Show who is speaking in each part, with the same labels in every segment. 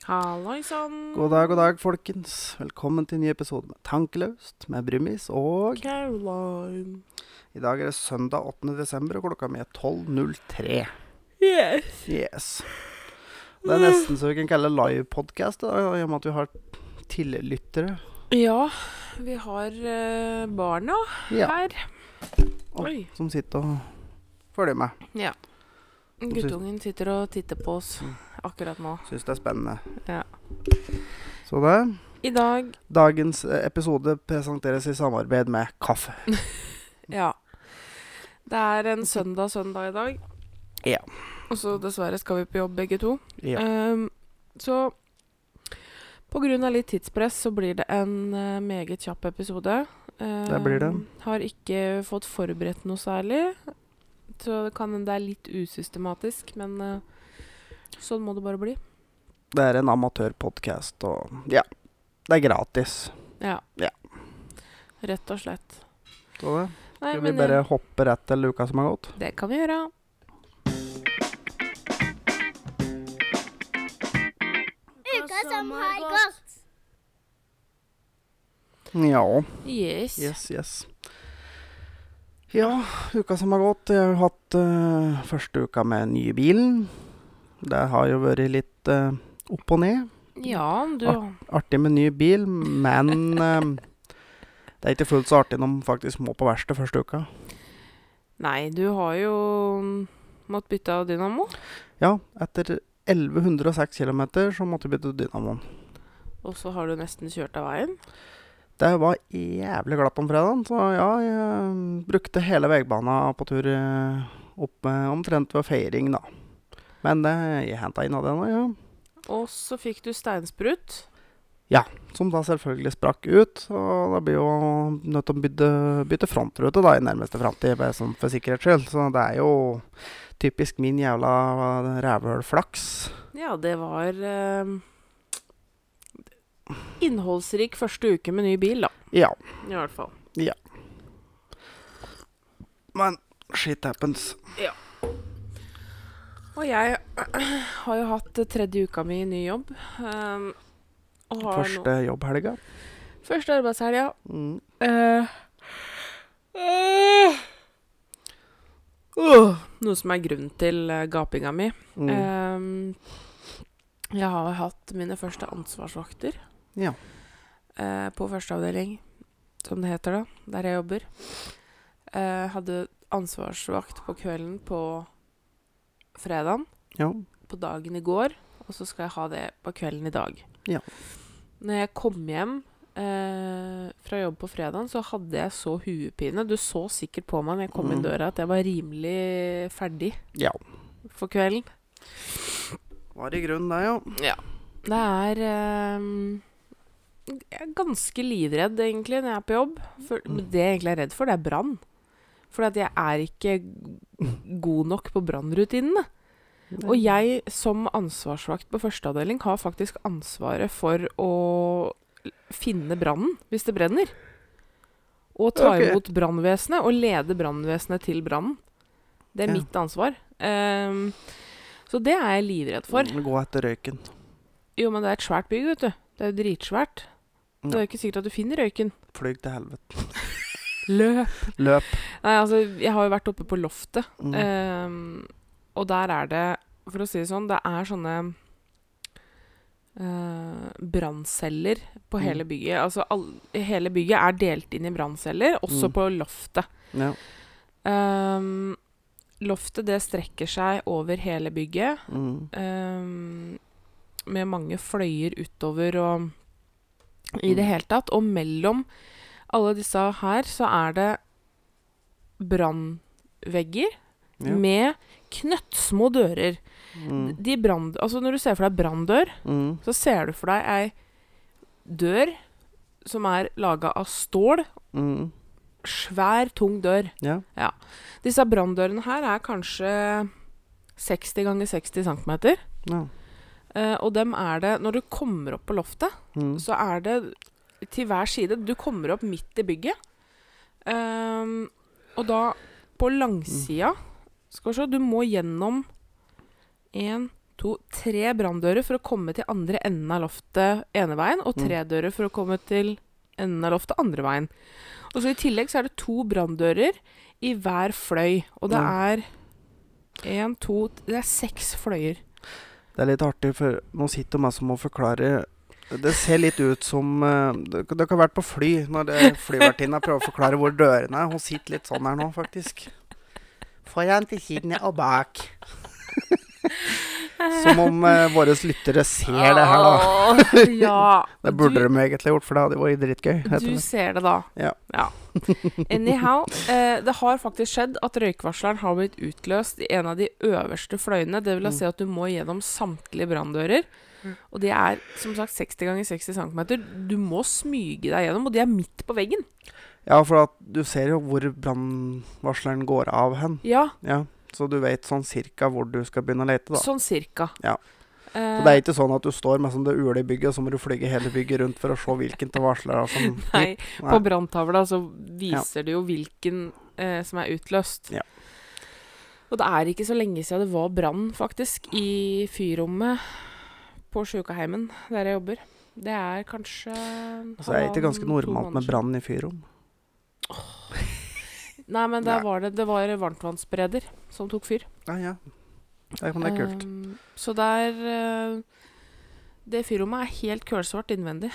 Speaker 1: Hallaisann.
Speaker 2: God dag, god dag, folkens. Velkommen til en ny episode med Tankeløst med Brumis. Og
Speaker 1: Caroline.
Speaker 2: i dag er det søndag 8. desember, og klokka mi er 12.03.
Speaker 1: Yes.
Speaker 2: Yes. Det er nesten så vi kan kalle det livepodkast, i dag, i og med at vi har tillyttere.
Speaker 1: Ja, vi har eh, barna
Speaker 2: Ja,
Speaker 1: her.
Speaker 2: Oi.
Speaker 1: Oi.
Speaker 2: som sitter og følger med.
Speaker 1: Ja. Guttungen sitter og titter på oss
Speaker 2: Mm.
Speaker 1: akkurat nå.
Speaker 2: Syns det er spennende.
Speaker 1: Ja.
Speaker 2: Så det.
Speaker 1: I dag
Speaker 2: Dagens eh, episode presenteres i samarbeid med kaffe.
Speaker 1: Ja. Det er en søndag søndag i dag.
Speaker 2: Ja.
Speaker 1: Og så dessverre skal vi på jobb begge to.
Speaker 2: Ja.
Speaker 1: Ehm, så på grunn av litt tidspress så blir det en eh, meget kjapp episode.
Speaker 2: Det blir det.
Speaker 1: Ehm, Har ikke fått forberedt noe særlig. Så det kan hende det er litt usystematisk, men eh, sånn må det bare bli.
Speaker 2: Det er en amatørpodkast, og ja. Det er gratis.
Speaker 1: Ja.
Speaker 2: Ja.
Speaker 1: Rett og slett.
Speaker 2: Så det.
Speaker 1: Nei,
Speaker 2: Skal vi
Speaker 1: men,
Speaker 2: bare
Speaker 1: eh,
Speaker 2: hoppe rett til uka som har gått?
Speaker 1: det kan vi gjøre.
Speaker 3: Uka som har gått.
Speaker 2: Ja.
Speaker 1: Yes.
Speaker 2: Yes, yes. Ja, uka som har gått. Jeg har jo hatt eh, første uka med nye bilen. Det har jo vært litt eh, opp og ned.
Speaker 1: Ja, du
Speaker 2: Ah. Artig med ny bil, men eh, det er ikke fullt så artig når man faktisk må på verksted første uka.
Speaker 1: Nei, du har jo måttet bytte av dynamo.
Speaker 2: Ja, etter 1106 km så måtte vi bytte dynamoen.
Speaker 1: Og så har du nesten kjørt av veien.
Speaker 2: Det var jævlig glatt om fredagen, så ja, jeg brukte hele veibana på tur eh, opp med omtrent ved feiring, da. Men det, jeg henta inn av det nå, ja.
Speaker 1: Og så fikk du steinsprut.
Speaker 2: Som da selvfølgelig sprakk ut, og da blir jo nødt til å bytte, bytte frontrute da i nærmeste framtid, bare sånn for sikkerhets skyld. Så det er jo typisk min jævla eh, rævhølflaks.
Speaker 1: Ja, det var eh, innholdsrik første uke med ny bil, da.
Speaker 2: Ja,
Speaker 1: I hvert fall.
Speaker 2: men shit happens.
Speaker 1: Og jeg har jo hatt tredje uka mi i ny jobb. eh, og har nå
Speaker 2: Første jobbhelga.
Speaker 1: Første arbeidshelg, ja.
Speaker 2: Mm.
Speaker 1: Eh, eh, åh, noe som er grunnen til eh, gapinga mi.
Speaker 2: Mm.
Speaker 1: Ehm, jeg har hatt mine første ansvarsvakter.
Speaker 2: Ja.
Speaker 1: Eh, på førsteavdeling, som det heter da, der jeg jobber. Eh, hadde ansvarsvakt på kvelden på fredagen,
Speaker 2: ja.
Speaker 1: på dagen i går, og så skal jeg ha det på kvelden i dag.
Speaker 2: Ja.
Speaker 1: Når jeg kom hjem eh, fra jobb på fredagen, så hadde jeg så huepine. Du så sikkert på meg når jeg kom inn
Speaker 2: Mm.
Speaker 1: døra at jeg var rimelig ferdig
Speaker 2: Ja.
Speaker 1: for kvelden.
Speaker 2: Var i grunnen det, ja.
Speaker 1: Det er ehm, Jeg er ganske livredd, egentlig, når jeg er på jobb. For
Speaker 2: Mm.
Speaker 1: Det jeg egentlig er redd for, det er brann. For at jeg er ikke god nok på brannrutinene. Og jeg som ansvarsvakt på førsteavdeling har faktisk ansvaret for å finne brannen hvis det brenner. Og ta
Speaker 2: Ok.
Speaker 1: imot brannvesenet og lede brannvesenet til brannen. Det er
Speaker 2: Ja.
Speaker 1: mitt ansvar. Ehm, så det er jeg livredd for.
Speaker 2: Gå etter røyken.
Speaker 1: Jo, men det er et svært bygg, vet du. Det er jo dritsvært. Det er jo ikke sikkert at du finner røyken.
Speaker 2: Flyg til helvete.
Speaker 1: Løp.
Speaker 2: Løp.
Speaker 1: Nei, altså, jeg har jo vært oppe på loftet,
Speaker 2: Mm.
Speaker 1: ehm, og der er det, for å si det sånn, det er sånne eh, brannceller på
Speaker 2: Mm.
Speaker 1: hele bygget. Altså, all, hele bygget er delt inn i brannceller, også
Speaker 2: Mm.
Speaker 1: på loftet.
Speaker 2: Ja.
Speaker 1: Ehm, loftet, det strekker seg over hele bygget,
Speaker 2: Mm.
Speaker 1: ehm, med mange fløyer utover og i det
Speaker 2: Mm.
Speaker 1: hele tatt. Og mellom alle disse her så er det brannvegger
Speaker 2: Ja.
Speaker 1: med knøttsmå dører.
Speaker 2: Mm.
Speaker 1: De brann, altså når du ser for deg branndør,
Speaker 2: Mm.
Speaker 1: så ser du for deg ei dør som er laga av stål.
Speaker 2: Mm.
Speaker 1: Svær, tung dør.
Speaker 2: Ja.
Speaker 1: Disse branndørene her er kanskje 60 ganger 60 cm.
Speaker 2: ja.
Speaker 1: Eh, og dem er det Når du kommer opp på loftet,
Speaker 2: Mm.
Speaker 1: så er det til hver side Du kommer opp midt i bygget. Ehm, og da, på langsida Skal vi se, du må gjennom én, to, tre branndører for å komme til andre enden av loftet ene veien, og tre
Speaker 2: Mm.
Speaker 1: dører for å komme til enden av loftet andre veien. Og så I tillegg så er det to branndører i hver fløy, og det
Speaker 2: Ja.
Speaker 1: er en, to Det er seks fløyer.
Speaker 2: Det er litt artig, for nå sitter meg som må forklare Det ser litt ut som eh, det- Dere har vært på fly når det- flyvertinna prøver å forklare hvor dørene er. Hun sitter litt sånn her nå, faktisk. Foran, til siden og bak. Som om eh, våre lyttere ser det her, da.
Speaker 1: Åh, ja.
Speaker 2: Det burde
Speaker 1: du,
Speaker 2: de egentlig gjort, for det hadde vært dritgøy. heter
Speaker 1: Du
Speaker 2: det.
Speaker 1: ser det, da.
Speaker 2: Ja.
Speaker 1: Anyhow, eh, det har faktisk skjedd at røykvarsleren har blitt utløst i en av de øverste fløyene. Det vil da
Speaker 2: Mm.
Speaker 1: si at du må gjennom samtlige branndører. Og de er som sagt 60 ganger 60 cm. Du må smyge deg gjennom, og de er midt på veggen.
Speaker 2: Ja, for at du ser jo hvor brannvarsleren går av hen.
Speaker 1: Ja,
Speaker 2: Ja, så du vet sånn cirka hvor du skal begynne å lete, da.
Speaker 1: sånn cirka.
Speaker 2: Ja. Så
Speaker 1: Eh,
Speaker 2: det er ikke sånn at du står med sånn det ule i bygget, og så må du flyge hele bygget rundt for å se hvilken av varslerne som
Speaker 1: Nei,
Speaker 2: Nei.
Speaker 1: på branntavla så viser det jo hvilken eh, som er utløst.
Speaker 2: Ja.
Speaker 1: Og det er ikke så lenge siden det var brann, faktisk, i fyrrommet på sjukeheimen der jeg jobber. Det er kanskje
Speaker 2: Så er det ikke ganske
Speaker 1: halvannen, sånn to
Speaker 2: normalt med
Speaker 1: måneder
Speaker 2: brann i fyrrom.
Speaker 1: siden. Nei, men der
Speaker 2: Nei.
Speaker 1: var det, det var varmtvannsbereder som tok fyr.
Speaker 2: Ja, ja. Det, men det er kult.
Speaker 1: Um, så der eh, Det fyrrommet er helt kølsvart innvendig.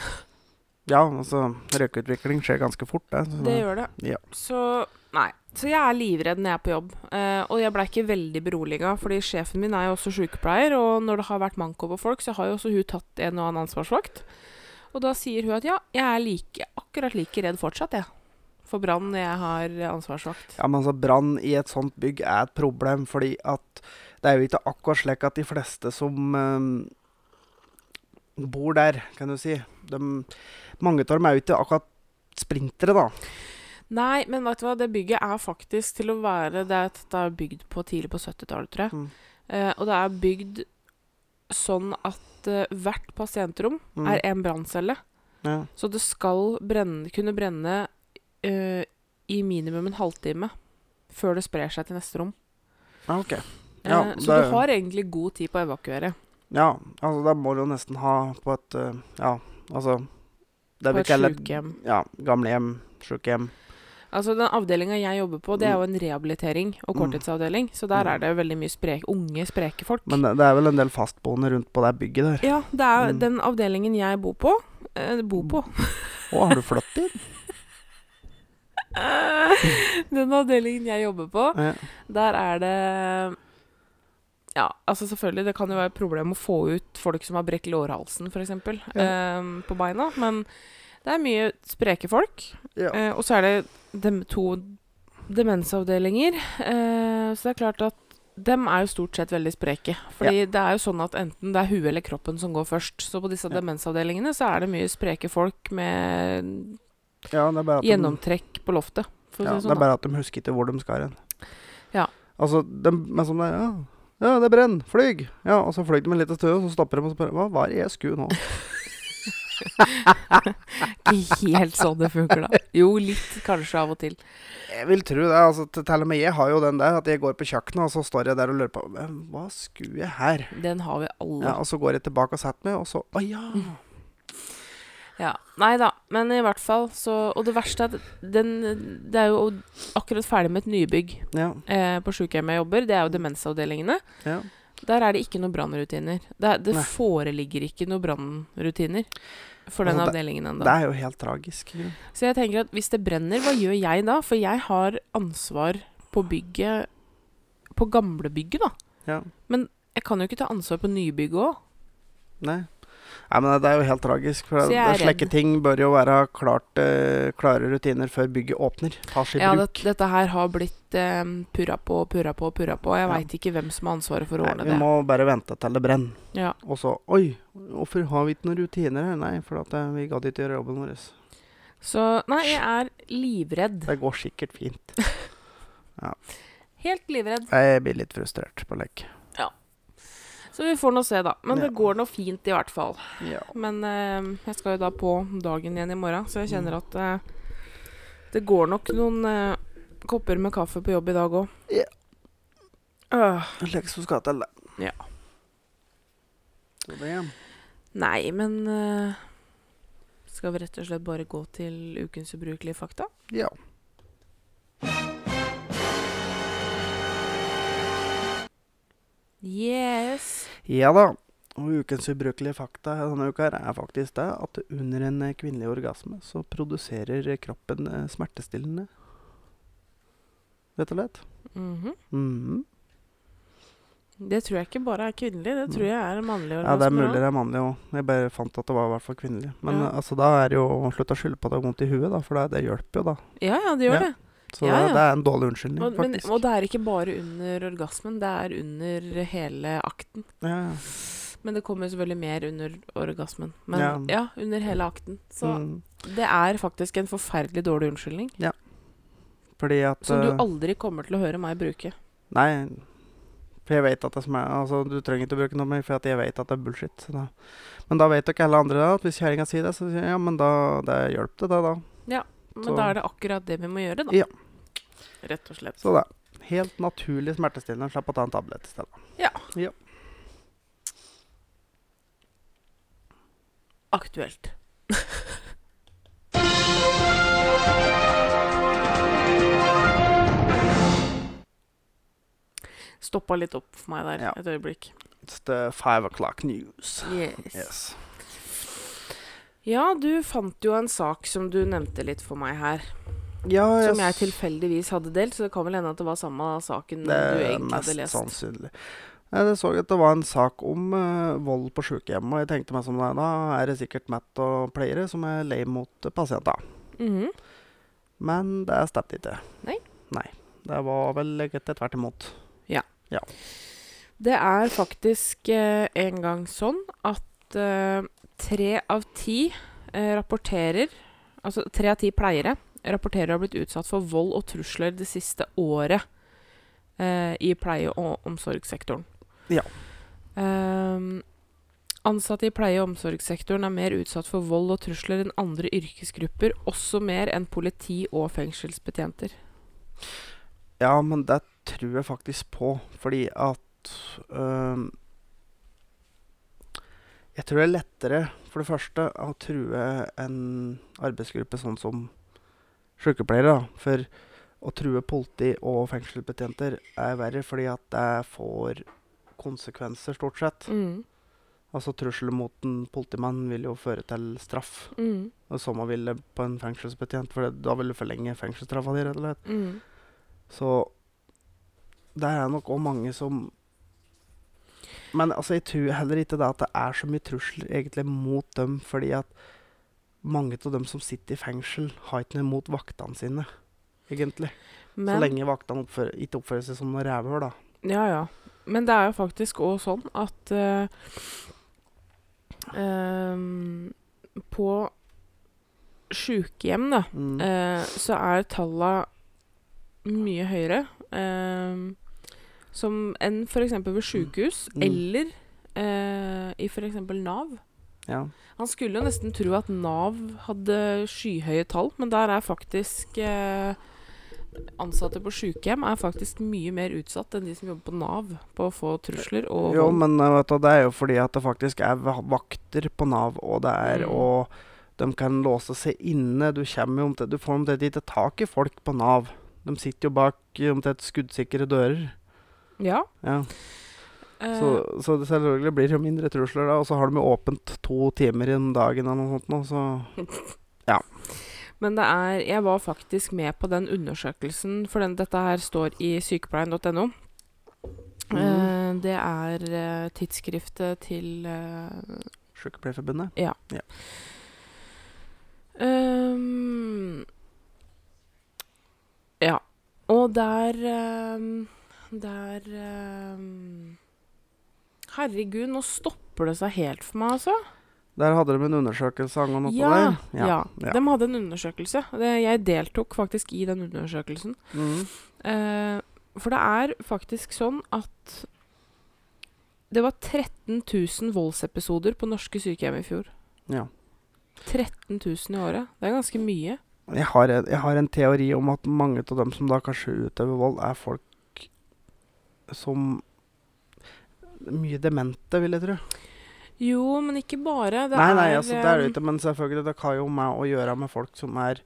Speaker 2: Ja, altså røykeutvikling skjer ganske fort, det. Så,
Speaker 1: Det gjør det.
Speaker 2: Ja.
Speaker 1: Så nei. Så jeg er livredd når jeg er på jobb. Eh, og jeg blei ikke veldig beroliga, fordi sjefen min er jo også sykepleier, og når det har vært manko på folk, så har jo også hun tatt en og annen ansvarsvakt. Og da sier hun at ja, jeg er like, akkurat like redd fortsatt, jeg. For brann når jeg har ansvarsvakt.
Speaker 2: Ja, men altså brann i et sånt bygg er et problem, fordi at det er jo ikke akkurat slik at de fleste som eh, bor der, kan du si de, Mange av dem er jo ikke akkurat sprintere, da.
Speaker 1: Nei, men vet du hva, det bygget er faktisk til å være Det er, det er bygd på tidlig på 70-tallet, tror jeg.
Speaker 2: Mm.
Speaker 1: Eh, og det er bygd sånn at eh, hvert pasientrom
Speaker 2: Mm.
Speaker 1: er en branncelle.
Speaker 2: Ja.
Speaker 1: Så det skal brenne, kunne brenne eh, i minimum en halvtime før det sprer seg til neste rom.
Speaker 2: ja, Ah, ok.
Speaker 1: Eh,
Speaker 2: Ja,
Speaker 1: så
Speaker 2: det-
Speaker 1: du har egentlig god tid på å evakuere.
Speaker 2: Ja, altså da må du jo nesten ha på et eh, Ja, altså det
Speaker 1: På
Speaker 2: vi
Speaker 1: et
Speaker 2: kaller-
Speaker 1: sjukehjem.
Speaker 2: Ja, gamlehjem, sjukehjem.
Speaker 1: Altså Den avdelinga jeg jobber på, det er jo en rehabilitering og
Speaker 2: Mm.
Speaker 1: korttidsavdeling. Så der er det veldig mye sprek, unge, spreke folk.
Speaker 2: Men det, det er vel en del fastboende rundt på det bygget der.
Speaker 1: ja, det er
Speaker 2: Mm.
Speaker 1: den avdelingen jeg bor på. Eh, bor på.
Speaker 2: Å, har du flyttet inn? Mm.
Speaker 1: den avdelingen jeg jobber på,
Speaker 2: Ja.
Speaker 1: Der er det Ja, altså selvfølgelig, det kan jo være et problem å få ut folk som har brekket lårhalsen, f.eks., eksempel, ehm, på beina, men det er mye spreke folk.
Speaker 2: Ja.
Speaker 1: Eh, og så er det dem to demensavdelinger, eh, så det er klart at dem er jo stort sett veldig spreke. Fordi det er jo sånn at enten det er huet eller kroppen som går først. Så på disse
Speaker 2: Ja.
Speaker 1: demensavdelingene så er det mye spreke folk med
Speaker 2: ja, det er bare at de,
Speaker 1: gjennomtrekk på loftet, for å
Speaker 2: ja,
Speaker 1: si det sånn.
Speaker 2: det er
Speaker 1: da.
Speaker 2: bare at de husker ikke hvor de skal hen.
Speaker 1: Ja.
Speaker 2: Altså, de, men som det er ja. ja, det brenner. Flyg! Ja, og så fløy de en liten stund, og så stopper de og spør Hva var det jeg skulle nå?
Speaker 1: Ikke helt sånn det funker, da. Jo, litt kanskje av og til.
Speaker 2: Jeg vil tro det. altså, til- Til og med jeg har jo den der, at jeg går på kjøkkenet, og så står jeg der og lurer på «Men Hva skulle jeg her?
Speaker 1: Den har vi alle.
Speaker 2: Ja, Mm. og så går jeg tilbake og setter meg, og så Å ja!
Speaker 1: Ja. Nei da, men i hvert fall så Og det verste er at den Det er jo akkurat ferdig med et nybygg
Speaker 2: Ja,
Speaker 1: eh, på sykehjemmet jeg jobber. Det er jo demensavdelingene.
Speaker 2: ja.
Speaker 1: Der er det ikke noen brannrutiner. Det, er- det
Speaker 2: Nei.
Speaker 1: foreligger ikke noen brannrutiner for den
Speaker 2: Altså, det-
Speaker 1: avdelingen
Speaker 2: Det
Speaker 1: ennå.
Speaker 2: er jo helt tragisk. jo.
Speaker 1: Så jeg tenker at hvis det brenner, hva gjør jeg da? For jeg har ansvar på bygget På gamlebygget, da.
Speaker 2: Ja.
Speaker 1: Jeg kan jo ikke ta ansvar på nybygget òg.
Speaker 2: Nei. Nei, men det er jo helt tragisk. For
Speaker 1: Så jeg er
Speaker 2: Slike
Speaker 1: redd.
Speaker 2: ting bør jo være klart, eh, klare rutiner før bygget åpner. Tas i
Speaker 1: Ja,
Speaker 2: bruk.
Speaker 1: det, dette her har blitt eh, purra på og purra på og purra på. og Jeg
Speaker 2: Ja.
Speaker 1: veit ikke hvem som har ansvaret for å
Speaker 2: Nei,
Speaker 1: ordne
Speaker 2: vi
Speaker 1: det.
Speaker 2: må bare vente til det brenner.
Speaker 1: Ja.
Speaker 2: Og så Oi, hvorfor har vi ikke noen rutiner her? Nei, for at eh, vi gadd ikke gjøre jobben vår.
Speaker 1: Så nei, jeg er livredd.
Speaker 2: Det går sikkert fint.
Speaker 1: Helt livredd.
Speaker 2: Jeg blir litt frustrert på lek.
Speaker 1: Så vi får nå se, da. Men
Speaker 2: Ja.
Speaker 1: det går nå fint, i hvert fall.
Speaker 2: Ja.
Speaker 1: Men eh, jeg skal jo da på dagen igjen i morgen, så jeg kjenner at eh, det går nok noen eh, kopper med kaffe på jobb i dag òg.
Speaker 2: Ja. Lek som skal til det.
Speaker 1: Ja.
Speaker 2: Så det
Speaker 1: Nei, men eh, skal vi rett og slett bare gå til ukens ubrukelige fakta?
Speaker 2: Ja.
Speaker 1: Yes.
Speaker 2: Ja da. Og ukens ubrukelige fakta denne uka her er faktisk det at under en eh, kvinnelig orgasme så produserer kroppen eh, smertestillende. Rett og slett.
Speaker 1: Mhm.
Speaker 2: Mhm.
Speaker 1: Det tror jeg ikke bare er kvinnelig, det tror jeg er en mannlig
Speaker 2: Ja,
Speaker 1: orgasme.
Speaker 2: det er mulig
Speaker 1: også.
Speaker 2: det er mannlig òg. Jeg bare fant at det var i hvert fall kvinnelig. Men
Speaker 1: Ja.
Speaker 2: eh, altså, da er det jo å slutte å skylde på at det er vondt i huet, da, for det, det hjelper jo, da.
Speaker 1: Ja, ja, det gjør
Speaker 2: Ja,
Speaker 1: det.
Speaker 2: Så
Speaker 1: Ja, ja.
Speaker 2: det er en dårlig unnskyldning,
Speaker 1: Og, men,
Speaker 2: faktisk.
Speaker 1: og det er ikke bare under orgasmen, det er under hele akten.
Speaker 2: ja, ja.
Speaker 1: Men det kommer selvfølgelig mer under orgasmen. Men ja,
Speaker 2: Ja.
Speaker 1: under hele akten. Så
Speaker 2: Mm.
Speaker 1: det er faktisk en forferdelig dårlig unnskyldning.
Speaker 2: Fordi at
Speaker 1: Som
Speaker 2: eh,
Speaker 1: du aldri kommer til å høre meg bruke.
Speaker 2: Nei. For jeg vet at det som er Altså, du trenger ikke å bruke noe mer, for at jeg vet at det er bullshit. Så da. Men da vet jo ikke alle andre det. At hvis kjerringa sier det, så sier jeg ja, men da det hjelper det, det, da.
Speaker 1: Men
Speaker 2: Så-
Speaker 1: da er det akkurat det vi må gjøre, da.
Speaker 2: Ja.
Speaker 1: Rett og slett.
Speaker 2: Så det. Helt naturlig smertestillende. Slapp å ta en tablett i stedet.
Speaker 1: Aktuelt. Stoppa litt opp for meg der
Speaker 2: Ja.
Speaker 1: et øyeblikk.
Speaker 2: It's the eh, five o'clock news.
Speaker 1: Yes.
Speaker 2: Yes.
Speaker 1: Ja, du fant jo en sak som du nevnte litt for meg her.
Speaker 2: Ja,
Speaker 1: Som
Speaker 2: s-
Speaker 1: jeg tilfeldigvis hadde delt, så det kan vel hende at det var samme saken Mm,
Speaker 2: Det
Speaker 1: du
Speaker 2: er
Speaker 1: egentlig
Speaker 2: mest sånn.
Speaker 1: hadde lest.
Speaker 2: sannsynlig. Jeg så at det var en sak om eh, vold på sykehjem, og jeg tenkte meg som deg, da er det sikkert Matt og pleiere som er lei mot eh, pasienter.
Speaker 1: Mhm.
Speaker 2: Men det stemte ikke.
Speaker 1: Nei.
Speaker 2: Nei. Det var vel egentlig tvert imot.
Speaker 1: Det er faktisk eh, en gang sånn at eh, tre av ti eh, rapporterer Altså tre av ti pleiere rapporterer å ha blitt utsatt for vold og trusler det siste året eh, i pleie- og omsorgssektoren.
Speaker 2: Ja.
Speaker 1: Ehm, ansatte i pleie- og omsorgssektoren er mer utsatt for vold og trusler enn andre yrkesgrupper, også mer enn politi og fengselsbetjenter.
Speaker 2: Ja, men det tror jeg faktisk på, fordi at øhm, Jeg tror det er lettere, for det første, å true en arbeidsgruppe sånn som sykepleiere, da. For å true politi og fengselsbetjenter er verre, fordi at det får konsekvenser, stort sett. Altså trusler mot en politimann vil jo føre til straff.
Speaker 1: Mm.
Speaker 2: Og så må ville på en fengselsbetjent, for det, da vil du forlenge fengselsstraffa di, rett og slett.
Speaker 1: Mm.
Speaker 2: Så der er nok òg mange som Men altså, jeg tror heller ikke det at det er så mye trusler egentlig mot dem, fordi at mange av dem som sitter i fengsel, har ikke noe imot vaktene sine, egentlig. så
Speaker 1: Men
Speaker 2: lenge vaktene oppfører, ikke oppfører seg som noe rævhøl, da.
Speaker 1: Ja, ja. Men det er jo faktisk òg sånn at eh, ehm, På sjukehjem, da,
Speaker 2: Mm.
Speaker 1: eh, så er talla mye høyere. ehm, som enn f.eks. ved sjukehus
Speaker 2: Mm.
Speaker 1: eller eh, i f.eks. Nav.
Speaker 2: ja.
Speaker 1: Han skulle jo nesten tro at Nav hadde skyhøye tall, men der er faktisk eh, Ansatte på sykehjem er faktisk mye mer utsatt enn de som jobber på Nav på å få trusler og
Speaker 2: Jo,
Speaker 1: vold.
Speaker 2: men eh, vet du, det er jo fordi at det faktisk er va- vakter på Nav, og det er
Speaker 1: Mm.
Speaker 2: og de kan låse seg inne. Du, kommer jo omtrent- du får omtrent ikke tak i folk på Nav. De sitter jo bak eh, omtrent skuddsikre dører.
Speaker 1: Ja.
Speaker 2: Ja.
Speaker 1: Eh,
Speaker 2: Så, så det selvfølgelig blir det jo mindre trusler da, og så har de jo åpent to timer i dagen eller noe sånt nå, så
Speaker 1: eh, men det er Jeg var faktisk med på den undersøkelsen, for den, dette her står i sykepleien.no. Eh,
Speaker 2: Mhm.
Speaker 1: det er eh, tidsskriftet til eh,
Speaker 2: Sykepleierforbundet.
Speaker 1: Ehm, ja. Og der ehm, Der ehm, Herregud, nå stopper det seg helt for meg, altså.
Speaker 2: Der hadde de en undersøkelse angående
Speaker 1: Ja,
Speaker 2: dette
Speaker 1: ja,
Speaker 2: der. ja.
Speaker 1: De hadde en undersøkelse. Det, jeg deltok faktisk i den undersøkelsen.
Speaker 2: Mhm.
Speaker 1: Eh, for det er faktisk sånn at det var 13 000 voldsepisoder på norske sykehjem i fjor.
Speaker 2: ja.
Speaker 1: 13 000 i året. Det er ganske mye.
Speaker 2: Jeg har, en, jeg har en teori om at mange av dem som da kanskje utøver vold, er folk som Mye demente, vil jeg tro.
Speaker 1: Jo, men ikke bare. Det
Speaker 2: nei, nei,
Speaker 1: er,
Speaker 2: altså, det er
Speaker 1: eh,
Speaker 2: det ikke. Men selvfølgelig, det har jo med å gjøre med folk som er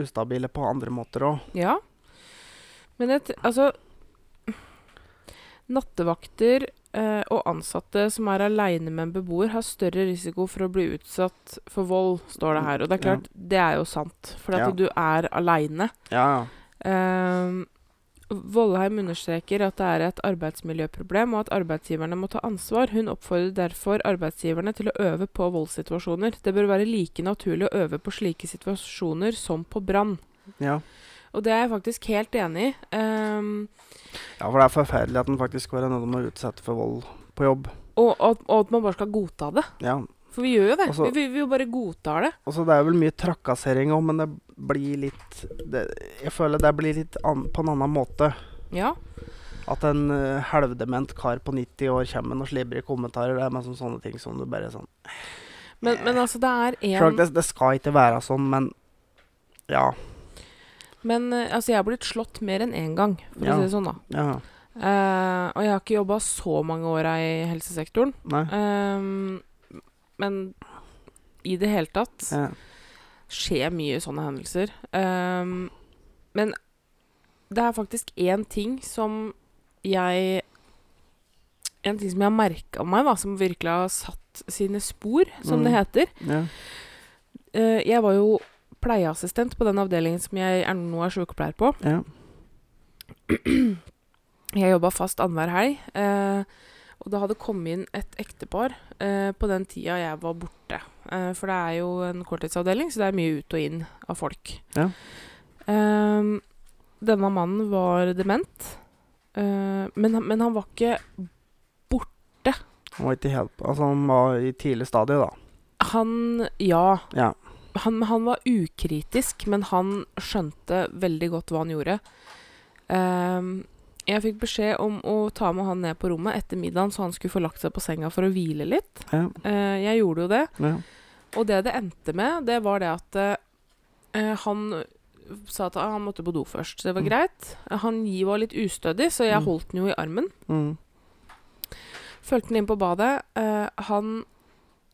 Speaker 2: ustabile på andre måter òg.
Speaker 1: Ja. Men jeg t- altså Nattevakter eh, og ansatte som er aleine med en beboer, har større risiko for å bli utsatt for vold, står det her. Og det er
Speaker 2: Ja.
Speaker 1: klart, det er jo sant. For at
Speaker 2: Ja.
Speaker 1: du er aleine.
Speaker 2: Ja, ja.
Speaker 1: Ehm, Vollheim understreker at det er et arbeidsmiljøproblem, og at arbeidsgiverne må ta ansvar. Hun oppfordrer derfor arbeidsgiverne til å øve på voldssituasjoner. Det bør være like naturlig å øve på slike situasjoner som på brann.
Speaker 2: Ja.
Speaker 1: Og det er jeg faktisk helt enig i. Ehm,
Speaker 2: ja, for det er forferdelig at en faktisk skal være noe man utsetter for vold på jobb.
Speaker 1: og, og, at- og at man bare skal godta det.
Speaker 2: Ja.
Speaker 1: For vi gjør jo det.
Speaker 2: Altså-
Speaker 1: vi, vi, vi jo bare godtar det.
Speaker 2: Og så det er vel mye trakassering òg, men det blir litt det, Jeg føler det blir litt an, på en annen måte.
Speaker 1: Ja.
Speaker 2: At en eh, halvdement kar på 90 år kommer med noen slibrige kommentarer. Det er masse sånne ting som du bare sånn
Speaker 1: Men, men altså, det er
Speaker 2: Sjølsagt,
Speaker 1: én
Speaker 2: det, det skal ikke være sånn, men ja.
Speaker 1: Men eh, altså, jeg har blitt slått mer enn én gang, for
Speaker 2: Ja.
Speaker 1: å si det sånn, da.
Speaker 2: ja.
Speaker 1: Eh, og jeg har ikke jobba så mange åra i helsesektoren.
Speaker 2: Nei.
Speaker 1: Ehm, men i det hele tatt
Speaker 2: Ja.
Speaker 1: skjer mye sånne hendelser. Ehm, men det er faktisk én ting som jeg En ting som jeg har merka meg, da, som virkelig har satt sine spor, som det
Speaker 2: Mm.
Speaker 1: heter.
Speaker 2: Ja.
Speaker 1: Eh, jeg var jo pleieassistent på den avdelingen som jeg er nå er sykepleier på.
Speaker 2: Ja.
Speaker 1: Jeg jobba fast annenhver helg. Eh, og det hadde kommet inn et ektepar eh, på den tida jeg var borte. Eh, for det er jo en korttidsavdeling, så det er mye ut og inn av folk.
Speaker 2: Ja.
Speaker 1: Ehm, denne mannen var dement, eh, men, han- men han var ikke
Speaker 2: Han var ikke helt Altså, han var i tidlig stadie, da.
Speaker 1: Han Ja.
Speaker 2: Ja.
Speaker 1: Han, han var ukritisk, men han skjønte veldig godt hva han gjorde. Ehm, jeg fikk beskjed om å ta med han ned på rommet etter middagen, så han skulle få lagt seg på senga for å hvile litt.
Speaker 2: Ja.
Speaker 1: Eh, jeg gjorde jo det.
Speaker 2: Ja.
Speaker 1: Og det det endte med, det var det at eh, han sa at ah, han måtte på do først. Det var
Speaker 2: Mm.
Speaker 1: greit. Han gi- var litt ustødig, så jeg
Speaker 2: Mm.
Speaker 1: holdt den jo i armen.
Speaker 2: Mm.
Speaker 1: Fulgte han inn på badet. eh, han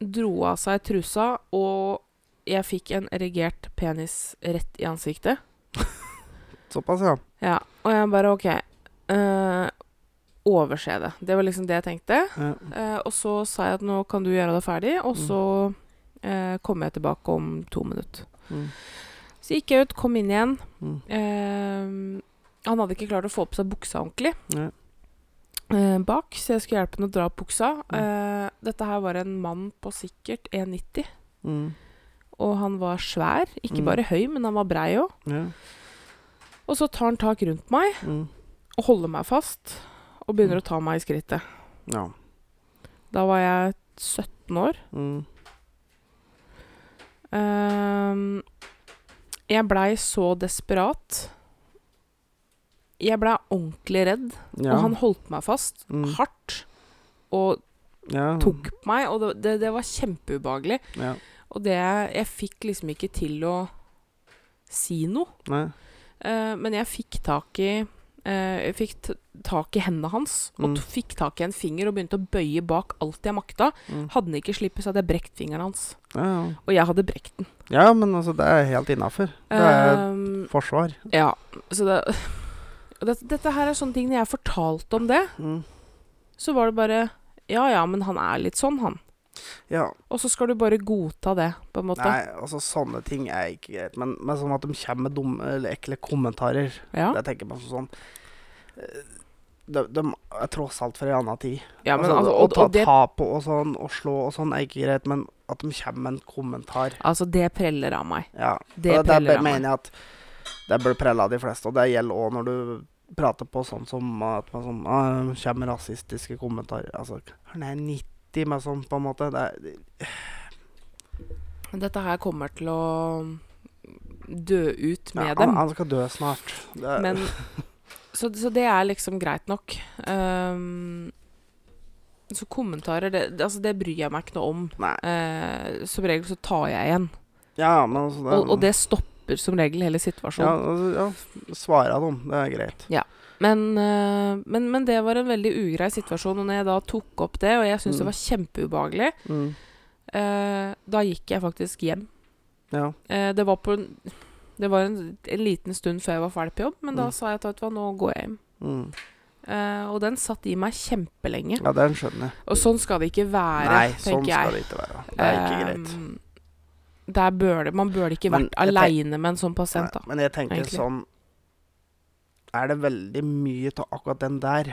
Speaker 1: dro av seg trusa, og jeg fikk en erigert penis rett i ansiktet.
Speaker 2: Såpass, ja.
Speaker 1: Ja, Og jeg bare OK. eh, overse det. Det var liksom det jeg tenkte.
Speaker 2: ja.
Speaker 1: Eh, og så sa jeg at nå kan du gjøre det ferdig, og
Speaker 2: Mm.
Speaker 1: så eh, kommer jeg tilbake om to minutter.
Speaker 2: Mm.
Speaker 1: Så gikk jeg ut, kom inn igjen.
Speaker 2: Mm.
Speaker 1: Eh, han hadde ikke klart å få på seg buksa ordentlig
Speaker 2: Nei.
Speaker 1: eh, bak, så jeg skulle hjelpe han å dra opp buksa.
Speaker 2: Mm.
Speaker 1: Eh, dette her var en mann på sikkert 1,90,
Speaker 2: Mm.
Speaker 1: og han var svær. Ikke
Speaker 2: Mm.
Speaker 1: bare høy, men han var brei òg.
Speaker 2: Ja.
Speaker 1: Og så tar han tak rundt meg
Speaker 2: Mm.
Speaker 1: og holder meg fast og begynner å ta meg i skrittet.
Speaker 2: ja.
Speaker 1: Da var jeg 17 år.
Speaker 2: Mm.
Speaker 1: Ehm, jeg blei så desperat. Jeg blei ordentlig redd,
Speaker 2: ja.
Speaker 1: og han holdt meg fast
Speaker 2: Mm.
Speaker 1: hardt. Og
Speaker 2: ja.
Speaker 1: tok på meg, og det, det, det var kjempeubehagelig.
Speaker 2: Ja.
Speaker 1: Og det Jeg fikk liksom ikke til å si noe.
Speaker 2: Nei.
Speaker 1: Eh, men jeg fikk tak i eh, jeg fikk t tak i hendene hans, og
Speaker 2: Mm.
Speaker 1: t fikk tak i en finger og begynte å bøye bak alt jeg makta.
Speaker 2: Mm.
Speaker 1: Hadde den ikke slippet, så hadde jeg brekt fingeren hans.
Speaker 2: Ja, ja.
Speaker 1: Og jeg hadde brekt den.
Speaker 2: Ja, men altså, det er helt innafor. Det er
Speaker 1: Ehm,
Speaker 2: forsvar.
Speaker 1: Ja, så det og dette, dette her er sånne ting Når jeg fortalte om det,
Speaker 2: Mm.
Speaker 1: så var det bare Ja ja, men han er litt sånn, han.
Speaker 2: Ja.
Speaker 1: Og så skal du bare godta det, på en måte.
Speaker 2: Nei, altså, sånne ting er ikke greit. Men, men sånn at de kommer med dumme eller ekle kommentarer,
Speaker 1: ja.
Speaker 2: det tenker man sånn eh, de, de er tross alt fra en annen tid.
Speaker 1: ja, men
Speaker 2: altså,
Speaker 1: altså,
Speaker 2: å
Speaker 1: og,
Speaker 2: ta
Speaker 1: og det,
Speaker 2: tap og, og sånn, og slå og sånn, er ikke greit, men at de kommer med en kommentar
Speaker 1: altså, det preller av meg.
Speaker 2: Ja.
Speaker 1: Det
Speaker 2: og det, det
Speaker 1: preller av meg.
Speaker 2: mener jeg at det bør prelle av de fleste, og det gjelder òg når du prater på sånn som at man sånn, ah, det kommer med rasistiske kommentarer. Altså, han er 90 med sånn, på en måte. Det er,
Speaker 1: Dette her kommer til å dø ut med
Speaker 2: ja, han,
Speaker 1: dem.
Speaker 2: han skal dø snart. Det, er-
Speaker 1: Men så, så det er liksom greit nok. Ehm, så kommentarer det, det- altså, det bryr jeg meg ikke noe om.
Speaker 2: Nei.
Speaker 1: Eh, som regel så tar jeg igjen.
Speaker 2: Ja, men altså det,
Speaker 1: Og, og det stopper som regel hele situasjonen.
Speaker 2: ja, altså, ja, svare dem. Det er greit.
Speaker 1: Ja. Men, eh, men, men det var en veldig ugrei situasjon. Og når jeg da tok opp det, og jeg syntes
Speaker 2: Mm.
Speaker 1: det var kjempeubehagelig,
Speaker 2: Mm.
Speaker 1: eh, da gikk jeg faktisk hjem.
Speaker 2: Ja.
Speaker 1: Eh, det var, på en, det var en, en liten stund før jeg var ferdig på jobb, men da
Speaker 2: Mm.
Speaker 1: sa jeg at vet du hva, nå går jeg hjem.
Speaker 2: Mm.
Speaker 1: Eh, og den satt i meg kjempelenge.
Speaker 2: ja, den skjønner jeg.
Speaker 1: Og sånn skal det ikke være,
Speaker 2: Nei,
Speaker 1: tenker
Speaker 2: sånn
Speaker 1: jeg.
Speaker 2: skal det ikke være. Det er ikke greit.
Speaker 1: Ehm, der bør det, man burde ikke
Speaker 2: Men
Speaker 1: vært
Speaker 2: jeg tenk-
Speaker 1: aleine med en sånn pasient, da.
Speaker 2: Nei, Men jeg tenker
Speaker 1: egentlig.
Speaker 2: sånn Er det veldig mye av akkurat den der?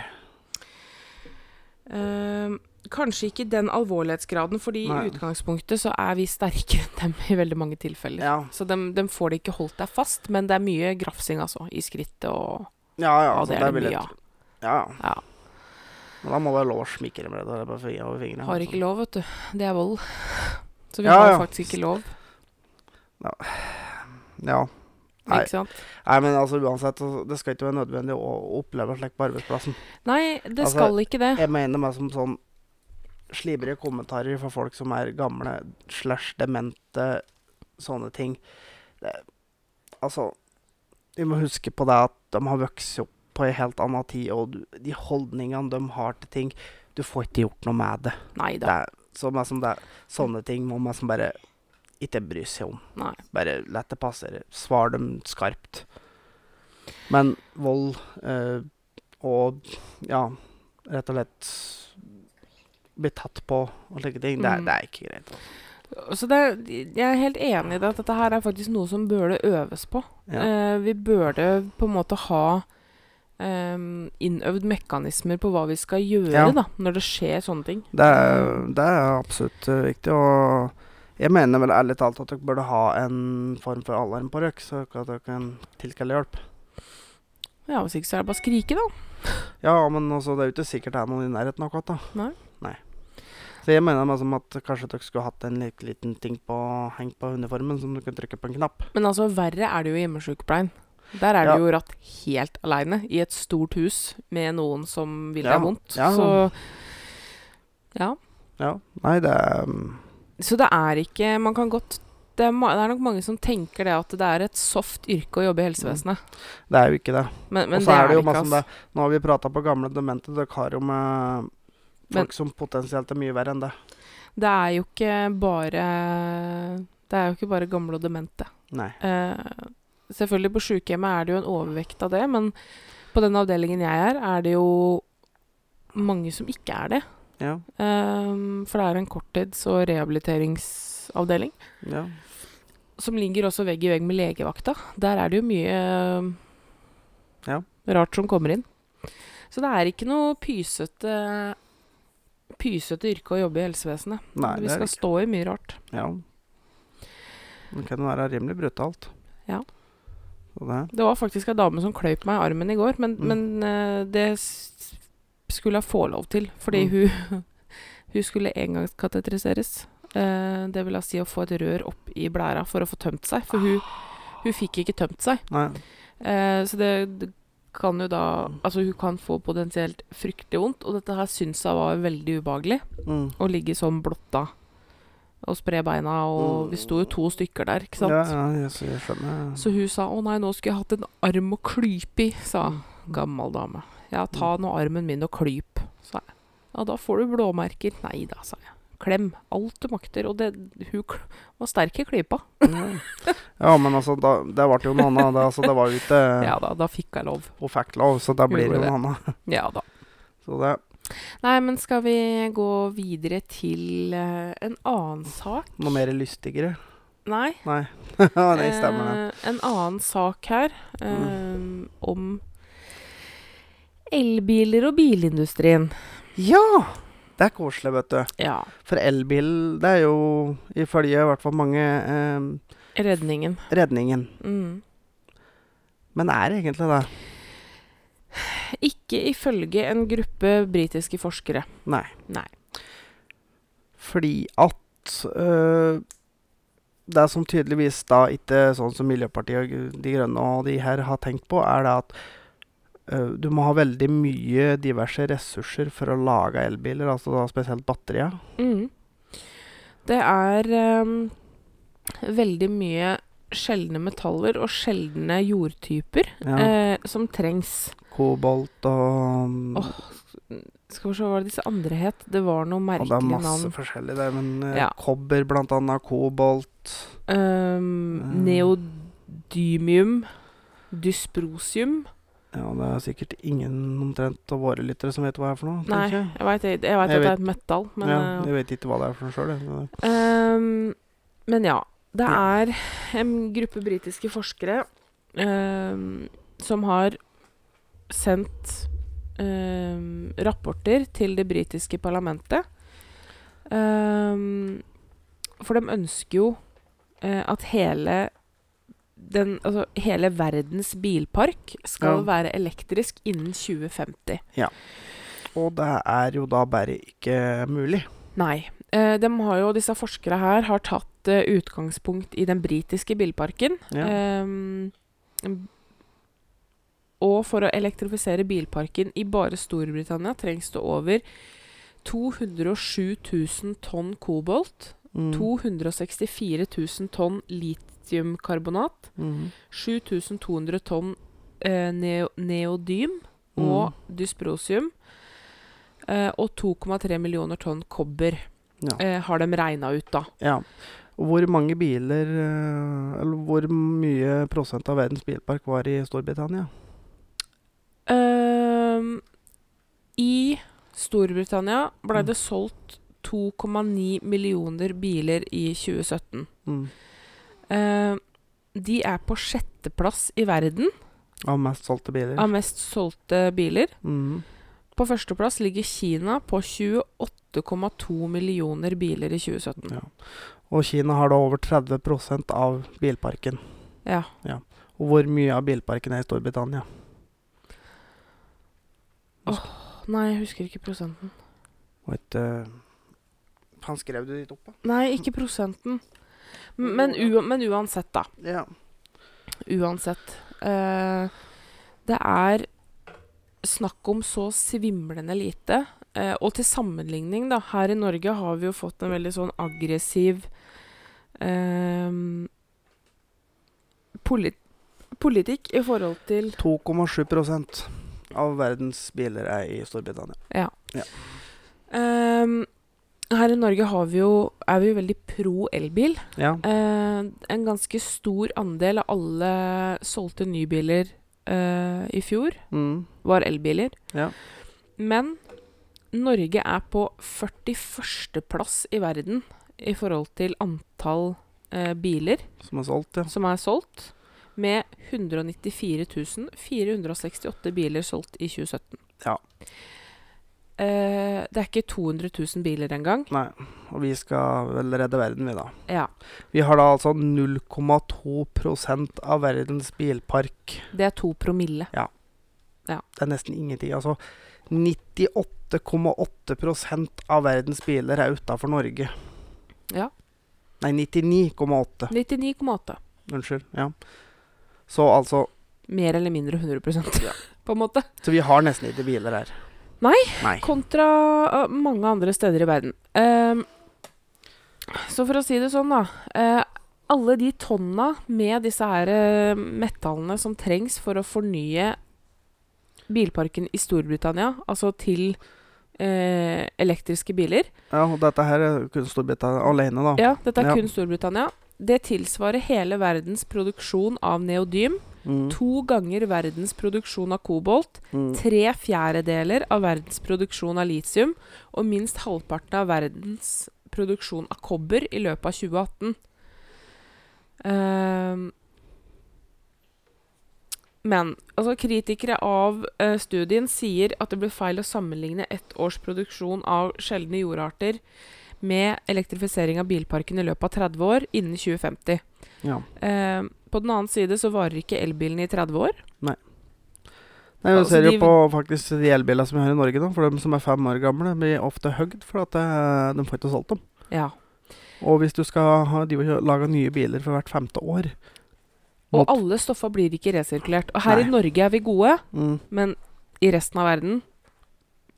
Speaker 1: Ehm, kanskje ikke i den alvorlighetsgraden, fordi
Speaker 2: Nei.
Speaker 1: i utgangspunktet så er vi sterkere enn dem i veldig mange tilfeller.
Speaker 2: Ja,
Speaker 1: Så dem, dem får det ikke holdt deg fast, men det er mye grafsing, altså, i skrittet og
Speaker 2: ja, ja
Speaker 1: Ja,
Speaker 2: altså,
Speaker 1: det
Speaker 2: det,
Speaker 1: er det
Speaker 2: vil
Speaker 1: mye
Speaker 2: jeg
Speaker 1: av.
Speaker 2: tro. Ja, ja.
Speaker 1: Ja.
Speaker 2: Men da må det være lov å smikre med det på fingre- over fingrene.
Speaker 1: Har ikke lov, vet du. Det er vold. Så vi
Speaker 2: altså. Ja,
Speaker 1: har
Speaker 2: ja.
Speaker 1: faktisk ikke lov,
Speaker 2: Ja. Nei.
Speaker 1: ikke sant.
Speaker 2: Nei, men altså uansett, altså, det skal ikke være nødvendig å oppleve slikt på arbeidsplassen.
Speaker 1: Nei, det
Speaker 2: Altså,
Speaker 1: skal ikke det.
Speaker 2: Jeg mener meg som sånn slibrige kommentarer fra folk som er gamle slash demente, sånne ting. Det, altså, vi må huske på det at de har vokst opp på en helt annen tid, og du, de holdningene de har til ting Du får ikke gjort noe med det.
Speaker 1: Nei
Speaker 2: det,
Speaker 1: da.
Speaker 2: er, så meg som det er, sånne ting må man som bare ikke bry seg om.
Speaker 1: Nei.
Speaker 2: Bare la det passere. Svar dem skarpt. Men vold eh, og ja, rett og slett bli tatt på og slike ting, det, er-
Speaker 1: Mm.
Speaker 2: det er ikke greit. altså.
Speaker 1: Så det, er- jeg er helt enig i det, at dette her er faktisk noe som burde øves på.
Speaker 2: Ja.
Speaker 1: Eh, vi burde på en måte ha ehm, innøvd mekanismer på hva vi skal gjøre
Speaker 2: Ja.
Speaker 1: da, når det skjer sånne ting.
Speaker 2: Det, er, det er absolutt eh, viktig. Og jeg mener vel ærlig talt at dere burde ha en form for alarm på dere, så at dere kan tilkalle hjelp.
Speaker 1: Ja, Hvis ikke så er det bare å skrike, da.
Speaker 2: Ja, men altså, det er jo ikke sikkert det er noen i nærheten akkurat, da.
Speaker 1: Nei.
Speaker 2: Så jeg mener meg som at kanskje dere skulle hatt en lik- liten ting på, hengt på uniformen som du kan trykke på en knapp.
Speaker 1: Men altså, verre er det jo i hjemmesykepleien. Der er
Speaker 2: Ja.
Speaker 1: du jo ratt helt aleine i et stort hus med noen som vil
Speaker 2: Ja,
Speaker 1: deg vondt.
Speaker 2: ja.
Speaker 1: Så ja.
Speaker 2: Ja. Nei, det er mm,
Speaker 1: Så det er ikke Man kan godt det er, ma- det er nok mange som tenker det at det er et soft yrke å jobbe i helsevesenet.
Speaker 2: Det er jo ikke det.
Speaker 1: Men, men
Speaker 2: Og
Speaker 1: det
Speaker 2: så er det jo
Speaker 1: ikke,
Speaker 2: masse om
Speaker 1: altså.
Speaker 2: det. Nå har vi prata på gamle demente. Dere har jo med
Speaker 1: Men-
Speaker 2: folk som potensielt er mye verre enn det.
Speaker 1: Det er jo ikke bare Det er jo ikke bare gamle og demente.
Speaker 2: Nei.
Speaker 1: Eh, selvfølgelig på sykehjemmet er det jo en overvekt av det, men på den avdelingen jeg er, er det jo mange som ikke er det.
Speaker 2: Ja.
Speaker 1: Eh, for det er en korttids- og rehabiliteringsavdeling
Speaker 2: Ja.
Speaker 1: som ligger også vegg i vegg med legevakta. Der er det jo mye eh,
Speaker 2: Ja.
Speaker 1: rart som kommer inn. Så det er ikke noe pysete Pysete yrke å jobbe i helsevesenet.
Speaker 2: Nei,
Speaker 1: Vi
Speaker 2: det er
Speaker 1: skal
Speaker 2: det ikke.
Speaker 1: stå i mye rart.
Speaker 2: Ja. Det kan jo være rimelig brutalt.
Speaker 1: Ja.
Speaker 2: Så det
Speaker 1: Det var faktisk ei dame som kløyp meg i armen i går, men,
Speaker 2: Mm.
Speaker 1: men eh, det s- skulle jeg få lov til. Fordi
Speaker 2: Mm.
Speaker 1: hun, hun skulle engangskateteriseres. Eh, det vil da si å få et rør opp i blæra for å få tømt seg. For hun,
Speaker 2: Ah.
Speaker 1: hun fikk ikke tømt seg.
Speaker 2: Nei.
Speaker 1: Eh, så det, det kan jo da
Speaker 2: Mm.
Speaker 1: Altså, hun kan få potensielt fryktelig vondt, og dette her syns jeg var veldig ubehagelig.
Speaker 2: Mm.
Speaker 1: Å ligge sånn blotta og spre beina, og vi sto jo to stykker der, ikke sant.
Speaker 2: Mm. Ja, ja, jeg, s- jeg skjønner.
Speaker 1: Så hun sa 'Å nei, nå skulle jeg hatt en arm å klype i', sa
Speaker 2: Mm.
Speaker 1: gammel dame. 'Ja, ta nå armen min og klyp', sa jeg. 'Ja, da får du blåmerker'. 'Nei da', sa jeg. 'Klem alt du makter'. Og det, hun kl var sterk i klypa.
Speaker 2: Ja. ja, men altså, da, det ble jo noe annet. Det, altså, det var jo ikke
Speaker 1: Ja da, da fikk jeg lov.
Speaker 2: Hun fikk lov, så da blir det
Speaker 1: Gjorde
Speaker 2: jo
Speaker 1: det.
Speaker 2: noe annet.
Speaker 1: Ja da.
Speaker 2: Så det
Speaker 1: Nei, men skal vi gå videre til eh, en annen sak?
Speaker 2: Noe mer lystigere?
Speaker 1: Nei.
Speaker 2: Nei. Nei, stemmer det. Mm.
Speaker 1: Eh, en annen sak her eh, om elbiler og bilindustrien.
Speaker 2: Ja! Det er koselig, vet du.
Speaker 1: Ja.
Speaker 2: For elbil, det er jo ifølge i hvert fall mange eh,
Speaker 1: Redningen.
Speaker 2: redningen.
Speaker 1: Mm.
Speaker 2: Men er det egentlig det?
Speaker 1: Ikke ifølge en gruppe britiske forskere.
Speaker 2: Nei.
Speaker 1: Nei.
Speaker 2: Fordi at eh, Det som tydeligvis da ikke sånn som Miljøpartiet og De Grønne og de her har tenkt på, er det at eh, du må ha veldig mye diverse ressurser for å lage elbiler, altså da spesielt batterier.
Speaker 1: Det er ehm, veldig mye sjeldne metaller og sjeldne jordtyper
Speaker 2: Ja.
Speaker 1: eh, som trengs.
Speaker 2: Kobolt og
Speaker 1: Åh, Skal vi se, hva var det disse andre het? Det var noe
Speaker 2: Og det
Speaker 1: merkelig
Speaker 2: er masse
Speaker 1: navn.
Speaker 2: forskjellig der, men eh,
Speaker 1: Ja.
Speaker 2: kobber blant annet, kobolt
Speaker 1: Um,
Speaker 2: Eh.
Speaker 1: neodymium. Dysprosium.
Speaker 2: Ja, det er sikkert ingen omtrent av våre lyttere som vet hva det er for noe.
Speaker 1: Nei,
Speaker 2: tenker jeg.
Speaker 1: jeg veit at det er et metall, men
Speaker 2: ja,
Speaker 1: eh,
Speaker 2: jeg vet ikke hva det er for noe sjøl.
Speaker 1: Ehm, men ja. Det
Speaker 2: Ja.
Speaker 1: er en gruppe britiske forskere ehm, som har sendt ehm, rapporter til det britiske parlamentet. Ehm, for de ønsker jo eh, at hele den, altså, hele verdens bilpark skal
Speaker 2: Ja.
Speaker 1: være elektrisk innen 2050.
Speaker 2: Og det er jo da bare ikke mulig.
Speaker 1: Nei. Eh, de har jo, disse forskere her har tatt eh, utgangspunkt i den britiske bilparken.
Speaker 2: Ja.
Speaker 1: Ehm, m- og for å elektrifisere bilparken i bare Storbritannia trengs det over 207 000 tonn kobolt,
Speaker 2: Mm.
Speaker 1: 264 000 tonn litiumkarbonat,
Speaker 2: Mm.
Speaker 1: 7200 tonn eh, neo neodym og dysprosium, eh, og 2,3 millioner tonn kobber
Speaker 2: Ja.
Speaker 1: eh, har de regna ut, da.
Speaker 2: Ja. Og Hvor mange biler eh, Eller hvor mye prosent av verdens bilpark var i Storbritannia?
Speaker 1: Ehm, I Storbritannia ble det solgt 2,9 millioner biler i 2017.
Speaker 2: Mm.
Speaker 1: Ehm, de er på sjetteplass i verden
Speaker 2: Av mest solgte biler?
Speaker 1: av mest solgte biler.
Speaker 2: Mm.
Speaker 1: På førsteplass ligger Kina på 28,2 millioner biler i 2017.
Speaker 2: Ja. Og Kina har da over 30 av bilparken.
Speaker 1: Ja.
Speaker 2: Og hvor mye av bilparken er i Storbritannia?
Speaker 1: Nei, jeg husker ikke prosenten.
Speaker 2: Og et, eh, han skrev det dit oppe?
Speaker 1: Nei, ikke prosenten. M- Men, u men uansett, da.
Speaker 2: Ja.
Speaker 1: Uansett. Eh, det er snakk om så svimlende lite. Eh, og til sammenligning, da. Her i Norge har vi jo fått en veldig sånn aggressiv eh, polit politikk i forhold til
Speaker 2: 2,7 av verdens biler er i Storbritannia.
Speaker 1: eh, Her i Norge har vi jo, er vi jo veldig pro elbil.
Speaker 2: Ja.
Speaker 1: Eh, en ganske stor andel av alle solgte nybiler eh, i fjor
Speaker 2: Mm.
Speaker 1: var elbiler.
Speaker 2: Ja.
Speaker 1: Men Norge er på 41. plass i verden i forhold til antall eh, biler
Speaker 2: Som er solgt, ja.
Speaker 1: som er solgt, med 194 468 biler solgt i 2017.
Speaker 2: Ja.
Speaker 1: Eh, det er ikke 200 000 biler engang.
Speaker 2: Nei. Og vi skal vel redde verden, vi, da.
Speaker 1: Ja,
Speaker 2: Vi har da altså 0,2 av verdens bilpark.
Speaker 1: det er to promille.
Speaker 2: Det er nesten ingenting. Altså 98,8 av verdens biler er utafor Norge.
Speaker 1: Ja.
Speaker 2: Nei, 99,8.
Speaker 1: 99,8.
Speaker 2: Unnskyld. Ja. Så altså
Speaker 1: Mer eller mindre 100 på en måte.
Speaker 2: Så vi har nesten ikke biler her.
Speaker 1: Nei.
Speaker 2: Nei.
Speaker 1: Kontra eh, mange andre steder i verden. Ehm, så for å si det sånn, da. eh, alle de tonna med disse her eh, metallene som trengs for å fornye bilparken i Storbritannia, altså til eh, elektriske biler
Speaker 2: Ja, og dette her er jo kun Storbritannia alene, da.
Speaker 1: Ja, dette er
Speaker 2: Ja.
Speaker 1: kun Storbritannia. Det tilsvarer hele verdens produksjon av neodym.
Speaker 2: Mm,
Speaker 1: To ganger verdens produksjon av kobolt.
Speaker 2: mm.
Speaker 1: Tre fjerdedeler av verdens produksjon av litium og minst halvparten av verdens produksjon av kobber i løpet av 2018. Ehm, men altså, kritikere av eh, studien sier at det blir feil å sammenligne ett års produksjon av sjeldne jordarter med elektrifisering av bilparken i løpet av 30 år innen 2050.
Speaker 2: ja.
Speaker 1: Ehm, på den annen side så varer ikke elbilene i 30 år.
Speaker 2: Nei, Vi
Speaker 1: Altså,
Speaker 2: ser jo
Speaker 1: de-
Speaker 2: på faktisk de elbilene som vi har i Norge, da. For dem som er fem år gamle, blir ofte høgd for at eh, de får ikke solgt dem.
Speaker 1: Ja.
Speaker 2: Og hvis du skal ha, de vil lage nye biler for hvert femte år
Speaker 1: Og
Speaker 2: Mått-
Speaker 1: alle stoffa blir ikke resirkulert. Og her
Speaker 2: Nei.
Speaker 1: i Norge er vi gode,
Speaker 2: mm,
Speaker 1: men i resten av verden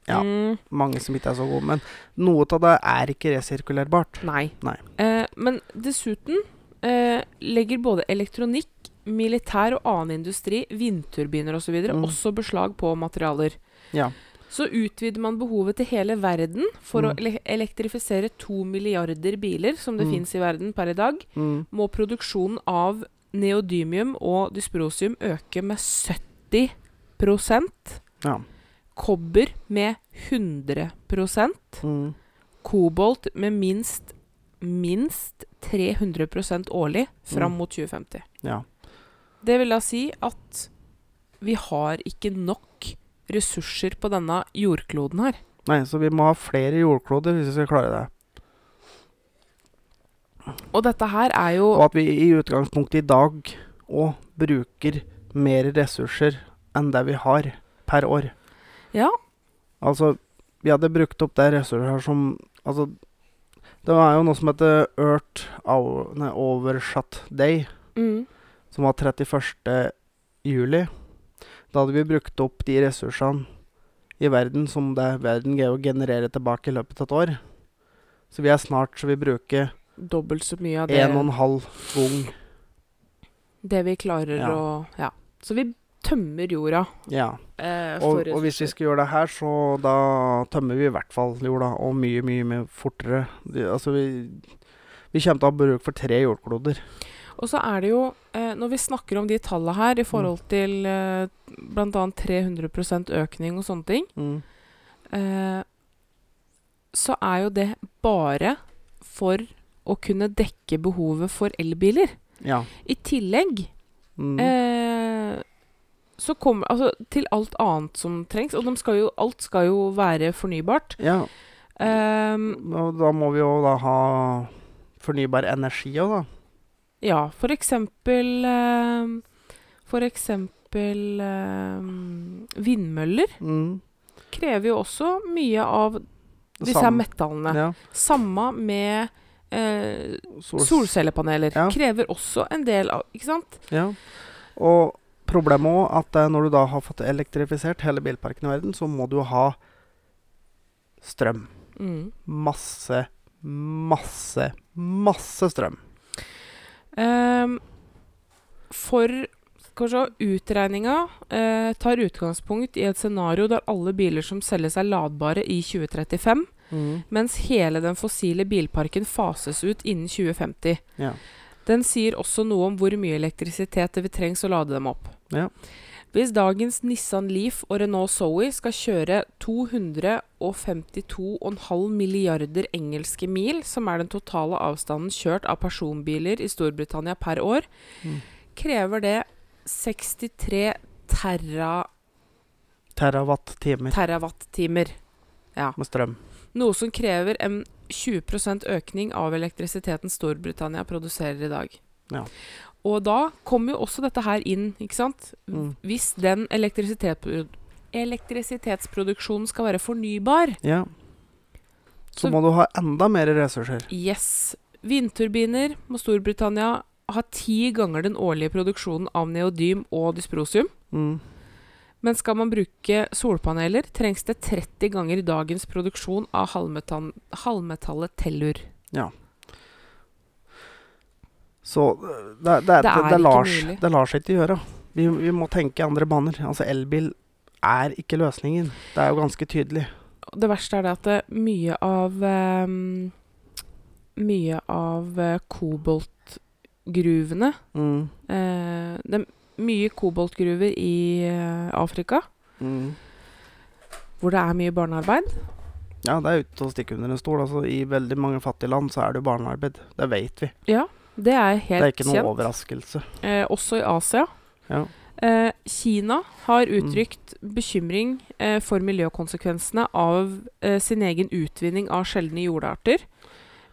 Speaker 2: Ja.
Speaker 1: mm,
Speaker 2: Mange som ikke er så gode, men noe av det er ikke resirkulerbart.
Speaker 1: Nei.
Speaker 2: Nei.
Speaker 1: Eh, men dessuten eh, legger både elektronikk, militær og annen industri, vindturbiner osv. videre,
Speaker 2: Mm.
Speaker 1: også beslag på materialer.
Speaker 2: Ja.
Speaker 1: Så utvider man behovet til hele verden for å
Speaker 2: Mm.
Speaker 1: ele elektrifisere to milliarder biler, som det
Speaker 2: Mm.
Speaker 1: fins i verden per i dag.
Speaker 2: Mm.
Speaker 1: Må produksjonen av neodymium og dysprosium øke med 70
Speaker 2: Ja.
Speaker 1: Kobber med 100
Speaker 2: Mm.
Speaker 1: kobolt med minst, minst 300 årlig fram
Speaker 2: Mm.
Speaker 1: mot 2050.
Speaker 2: Ja.
Speaker 1: Det vil da si at vi har ikke nok ressurser på denne jordkloden her.
Speaker 2: Nei, så vi må ha flere jordkloder hvis vi skal klare det.
Speaker 1: Og dette her er jo
Speaker 2: Og at vi i utgangspunktet i dag òg bruker mer ressurser enn det vi har per år.
Speaker 1: Ja.
Speaker 2: Altså, vi hadde brukt opp de ressursene som Altså, det var jo noe som heter Earth Hour- nei, Overshot Day,
Speaker 1: mm,
Speaker 2: som var 31. juli. Da hadde vi brukt opp de ressursene i verden som det verden greier å generere tilbake i løpet av et år. Så vi er snart så vi bruker
Speaker 1: dobbelt så mye av det,
Speaker 2: en og en halv gang
Speaker 1: det vi klarer
Speaker 2: Ja.
Speaker 1: å Ja. Så vi tømmer jorda.
Speaker 2: Ja.
Speaker 1: Eh,
Speaker 2: Og,
Speaker 1: for
Speaker 2: og hvis vi
Speaker 1: ressurser.
Speaker 2: skal gjøre det her, så da tømmer vi i hvert fall jorda, og mye, mye mye fortere. Det, altså, vi, vi kommer til å ha bruk for tre jordkloder.
Speaker 1: Og så er det jo, eh, når vi snakker om de tallene her i forhold
Speaker 2: Mm.
Speaker 1: til eh, bl.a. 300 økning og sånne ting, eh, så er jo det bare for å kunne dekke behovet for elbiler.
Speaker 2: Ja.
Speaker 1: I tillegg
Speaker 2: Mm.
Speaker 1: eh, så kommer Altså til alt annet som trengs, og de skal jo, alt skal jo være fornybart.
Speaker 2: ja.
Speaker 1: Ehm,
Speaker 2: Og da må vi jo da ha fornybar energi òg, da.
Speaker 1: ja, for eksempel ehm, For eksempel ehm, vindmøller
Speaker 2: Mm.
Speaker 1: krever jo også mye av disse her
Speaker 2: Sam-
Speaker 1: metallene.
Speaker 2: Ja.
Speaker 1: Samme med eh,
Speaker 2: Sol-
Speaker 1: Solcellepaneler
Speaker 2: Ja.
Speaker 1: krever også en del av Ikke sant?
Speaker 2: Ja. Og problemet òg at eh, når du da har fått elektrifisert hele bilparken i verden, så må du ha strøm.
Speaker 1: Mm.
Speaker 2: Masse, masse, masse strøm.
Speaker 1: Ehm, for kanskje utregninga eh, tar utgangspunkt i et scenario der alle biler som selges, er ladbare i 2035,
Speaker 2: Mm.
Speaker 1: mens hele den fossile bilparken fases ut innen 2050.
Speaker 2: Ja.
Speaker 1: Den sier også noe om hvor mye elektrisitet det vil trengs å lade dem opp.
Speaker 2: Ja.
Speaker 1: Hvis dagens Nissan Leaf og Renault Zoe skal kjøre 252,5 milliarder engelske mil, som er den totale avstanden kjørt av personbiler i Storbritannia per år,
Speaker 2: Mm.
Speaker 1: krever det 63 terra,
Speaker 2: Terawatt-timer
Speaker 1: terawatt-timer.
Speaker 2: med strøm.
Speaker 1: Noe som krever en 20 økning av elektrisiteten Storbritannia produserer i dag.
Speaker 2: Ja.
Speaker 1: Og da kommer jo også dette her inn, ikke sant?
Speaker 2: Mm.
Speaker 1: Hvis den elektrisitetspro- elektrisitetsproduksjonen skal være fornybar,
Speaker 2: Ja. Så,
Speaker 1: Så-
Speaker 2: må du ha enda mer ressurser.
Speaker 1: yes, vindturbiner må Storbritannia ha ti ganger den årlige produksjonen av neodym og dysprosium.
Speaker 2: Mm.
Speaker 1: Men skal man bruke solpaneler, trengs det 30 ganger dagens produksjon av halvmetan- halvmetallet tellur.
Speaker 2: Så øh, det, det, det, det,
Speaker 1: ikke
Speaker 2: lar, seg-
Speaker 1: mulig.
Speaker 2: det lar seg ikke gjøre. Vi, vi må tenke i andre baner. Altså, elbil er ikke løsningen. Det er jo ganske tydelig.
Speaker 1: Og Det verste er det at det, mye av ehm, Mye av eh, koboltgruvene
Speaker 2: Mm.
Speaker 1: eh, Det er mye koboltgruver i eh, Afrika
Speaker 2: Mm.
Speaker 1: hvor det er mye barnearbeid.
Speaker 2: Ja, det er ute å stikke under en stol. Altså, I veldig mange fattige land så er det jo barnearbeid. Det vet vi.
Speaker 1: Det er
Speaker 2: det er
Speaker 1: helt
Speaker 2: ikke noen
Speaker 1: kjent.
Speaker 2: overraskelse.
Speaker 1: Eh, også i Asia.
Speaker 2: Ja. Mm.
Speaker 1: Eh, Kina har uttrykt bekymring eh, for miljøkonsekvensene av eh, sin egen utvinning av sjeldne jordarter.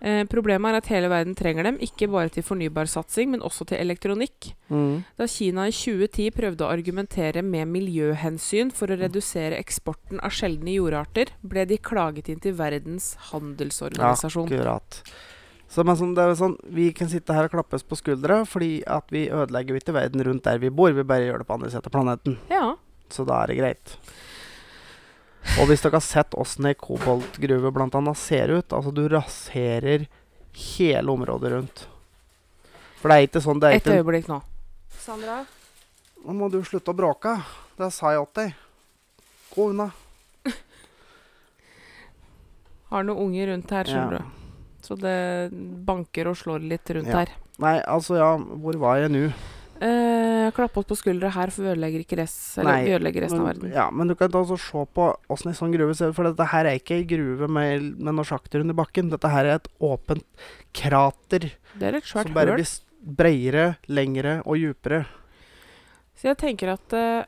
Speaker 1: Eh, problemet er at hele verden trenger dem, ikke bare til fornybarsatsing, men også til elektronikk.
Speaker 2: Mm.
Speaker 1: Da Kina i 2010 prøvde å argumentere med miljøhensyn for å redusere eksporten av sjeldne jordarter, ble de klaget inn til Verdens handelsorganisasjon.
Speaker 2: Akkurat. Så, men sånn, det er jo sånn, vi kan sitte her og klappes på skuldra fordi at vi ødelegger jo ikke verden rundt der vi bor, vi bare gjør det på andre siden av planeten.
Speaker 1: Ja.
Speaker 2: Så da er det greit. Og hvis dere har sett åssen ei koboltgruve blant annet ser ut, altså du raserer hele området rundt. For det er ikke sånn det er
Speaker 1: Et
Speaker 2: ikke
Speaker 1: øyeblikk nå. Sandra?
Speaker 2: Nå må du slutte å bråke. Det sa jeg til deg. Gå unna.
Speaker 1: Har noen unger rundt her, skjønner
Speaker 2: Ja.
Speaker 1: du. Så det banker og slår litt rundt
Speaker 2: Ja.
Speaker 1: her.
Speaker 2: Nei, altså, ja, hvor var jeg nå?
Speaker 1: Eh, klapp oss på skuldra her, for vi ødelegger ikke rest, eller,
Speaker 2: Nei,
Speaker 1: vi ødelegger resten av
Speaker 2: Men,
Speaker 1: verden.
Speaker 2: ja, men du kan ta og se på åssen ei sånn gruve ser ut. For dette her er ikke ei gruve med, med noen sjakter under bakken. Dette her er et åpent krater
Speaker 1: Det er et svært
Speaker 2: som bare
Speaker 1: høl.
Speaker 2: blir s- breiere, lengre og djupere.
Speaker 1: Så jeg tenker at eh,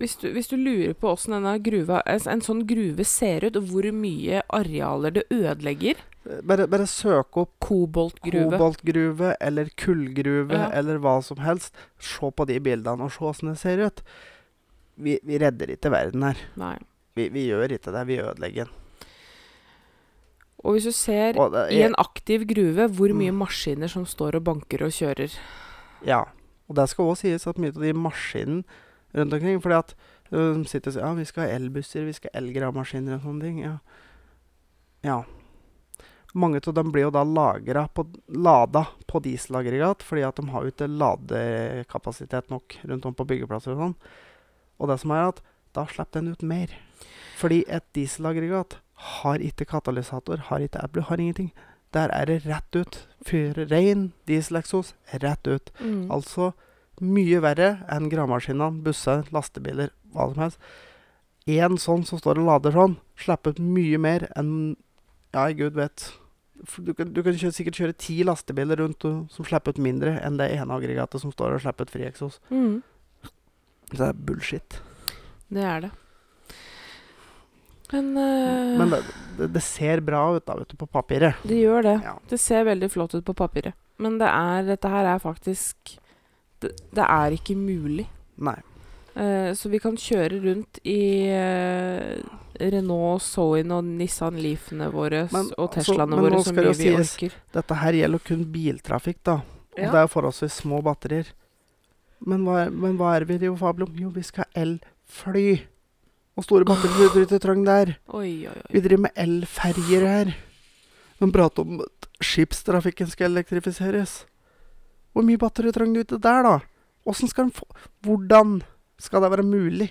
Speaker 1: hvis, du, hvis du lurer på åssen denne gruva en, en sånn gruve ser ut, og hvor mye arealer det ødelegger
Speaker 2: Bare, bare søk opp
Speaker 1: Koboltgruve.
Speaker 2: koboltgruve eller kullgruve
Speaker 1: Ja.
Speaker 2: eller hva som helst. Se på de bildene og se åssen det ser ut. Vi, vi redder ikke verden her.
Speaker 1: Nei.
Speaker 2: Vi, vi gjør ikke det. Vi ødelegger den.
Speaker 1: Og hvis du ser
Speaker 2: Og det,
Speaker 1: i en aktiv gruve hvor mye
Speaker 2: Mm.
Speaker 1: maskiner som står og banker og kjører.
Speaker 2: Ja. Og det skal òg sies at mye av de maskinene rundt omkring fordi at øh, de sitter og sier ja, vi skal ha elbusser, vi skal ha elgravemaskiner og sånne ting. Ja. ja. Mange av dem blir jo da lagra på, lada på dieselaggregat fordi at de har jo ikke ladekapasitet nok rundt om på byggeplasser og sånn. Og det som er at da slipper den ut mer. Fordi et dieselaggregat har ikke katalysator, har ikke Apple, har ingenting. Der er det rett ut. Fyrer rein dieseleksos rett ut.
Speaker 1: Mm.
Speaker 2: Altså mye verre enn gravemaskinene, busser, lastebiler, hva som helst. Én sånn som står og lader sånn, slipper ut mye mer enn Ja, gud vet. For Du kan, du kan kjøre, sikkert kjøre ti lastebiler rundt og, som slipper ut mindre enn det ene aggregatet som står og slipper ut frieksos.
Speaker 1: Mm.
Speaker 2: Så Det er bullshit.
Speaker 1: Det er det. Men, eh,
Speaker 2: Men
Speaker 1: det,
Speaker 2: det, det, det ser bra ut da, vet du, på papiret.
Speaker 1: gjør det.
Speaker 2: Ja.
Speaker 1: Det ser veldig flott ut på papiret. Men det er, dette her er faktisk Det, det er ikke mulig.
Speaker 2: Nei.
Speaker 1: Eh, så vi kan kjøre rundt i eh, Renault Zoen og Nissan Leafene våre s-
Speaker 2: Men,
Speaker 1: og
Speaker 2: altså,
Speaker 1: Teslaene
Speaker 2: men
Speaker 1: våre
Speaker 2: nå
Speaker 1: så
Speaker 2: skal det
Speaker 1: mye vi
Speaker 2: jo sies-
Speaker 1: orker.
Speaker 2: Dette her gjelder jo kun biltrafikk, da. Og
Speaker 1: Ja.
Speaker 2: det er jo forholdsvis små batterier. Men hva, er- men hva er det vi driver fabel om? Jo, vi skal ha elfly. Og store batterier du ikke trenger der.
Speaker 1: Oi, oi, oi.
Speaker 2: Vi driver med elferjer her. De prater om at skipstrafikken skal elektrifiseres. Hvor mye batteri trenger du ikke der, da? Åssen skal de få Hvordan skal det være mulig?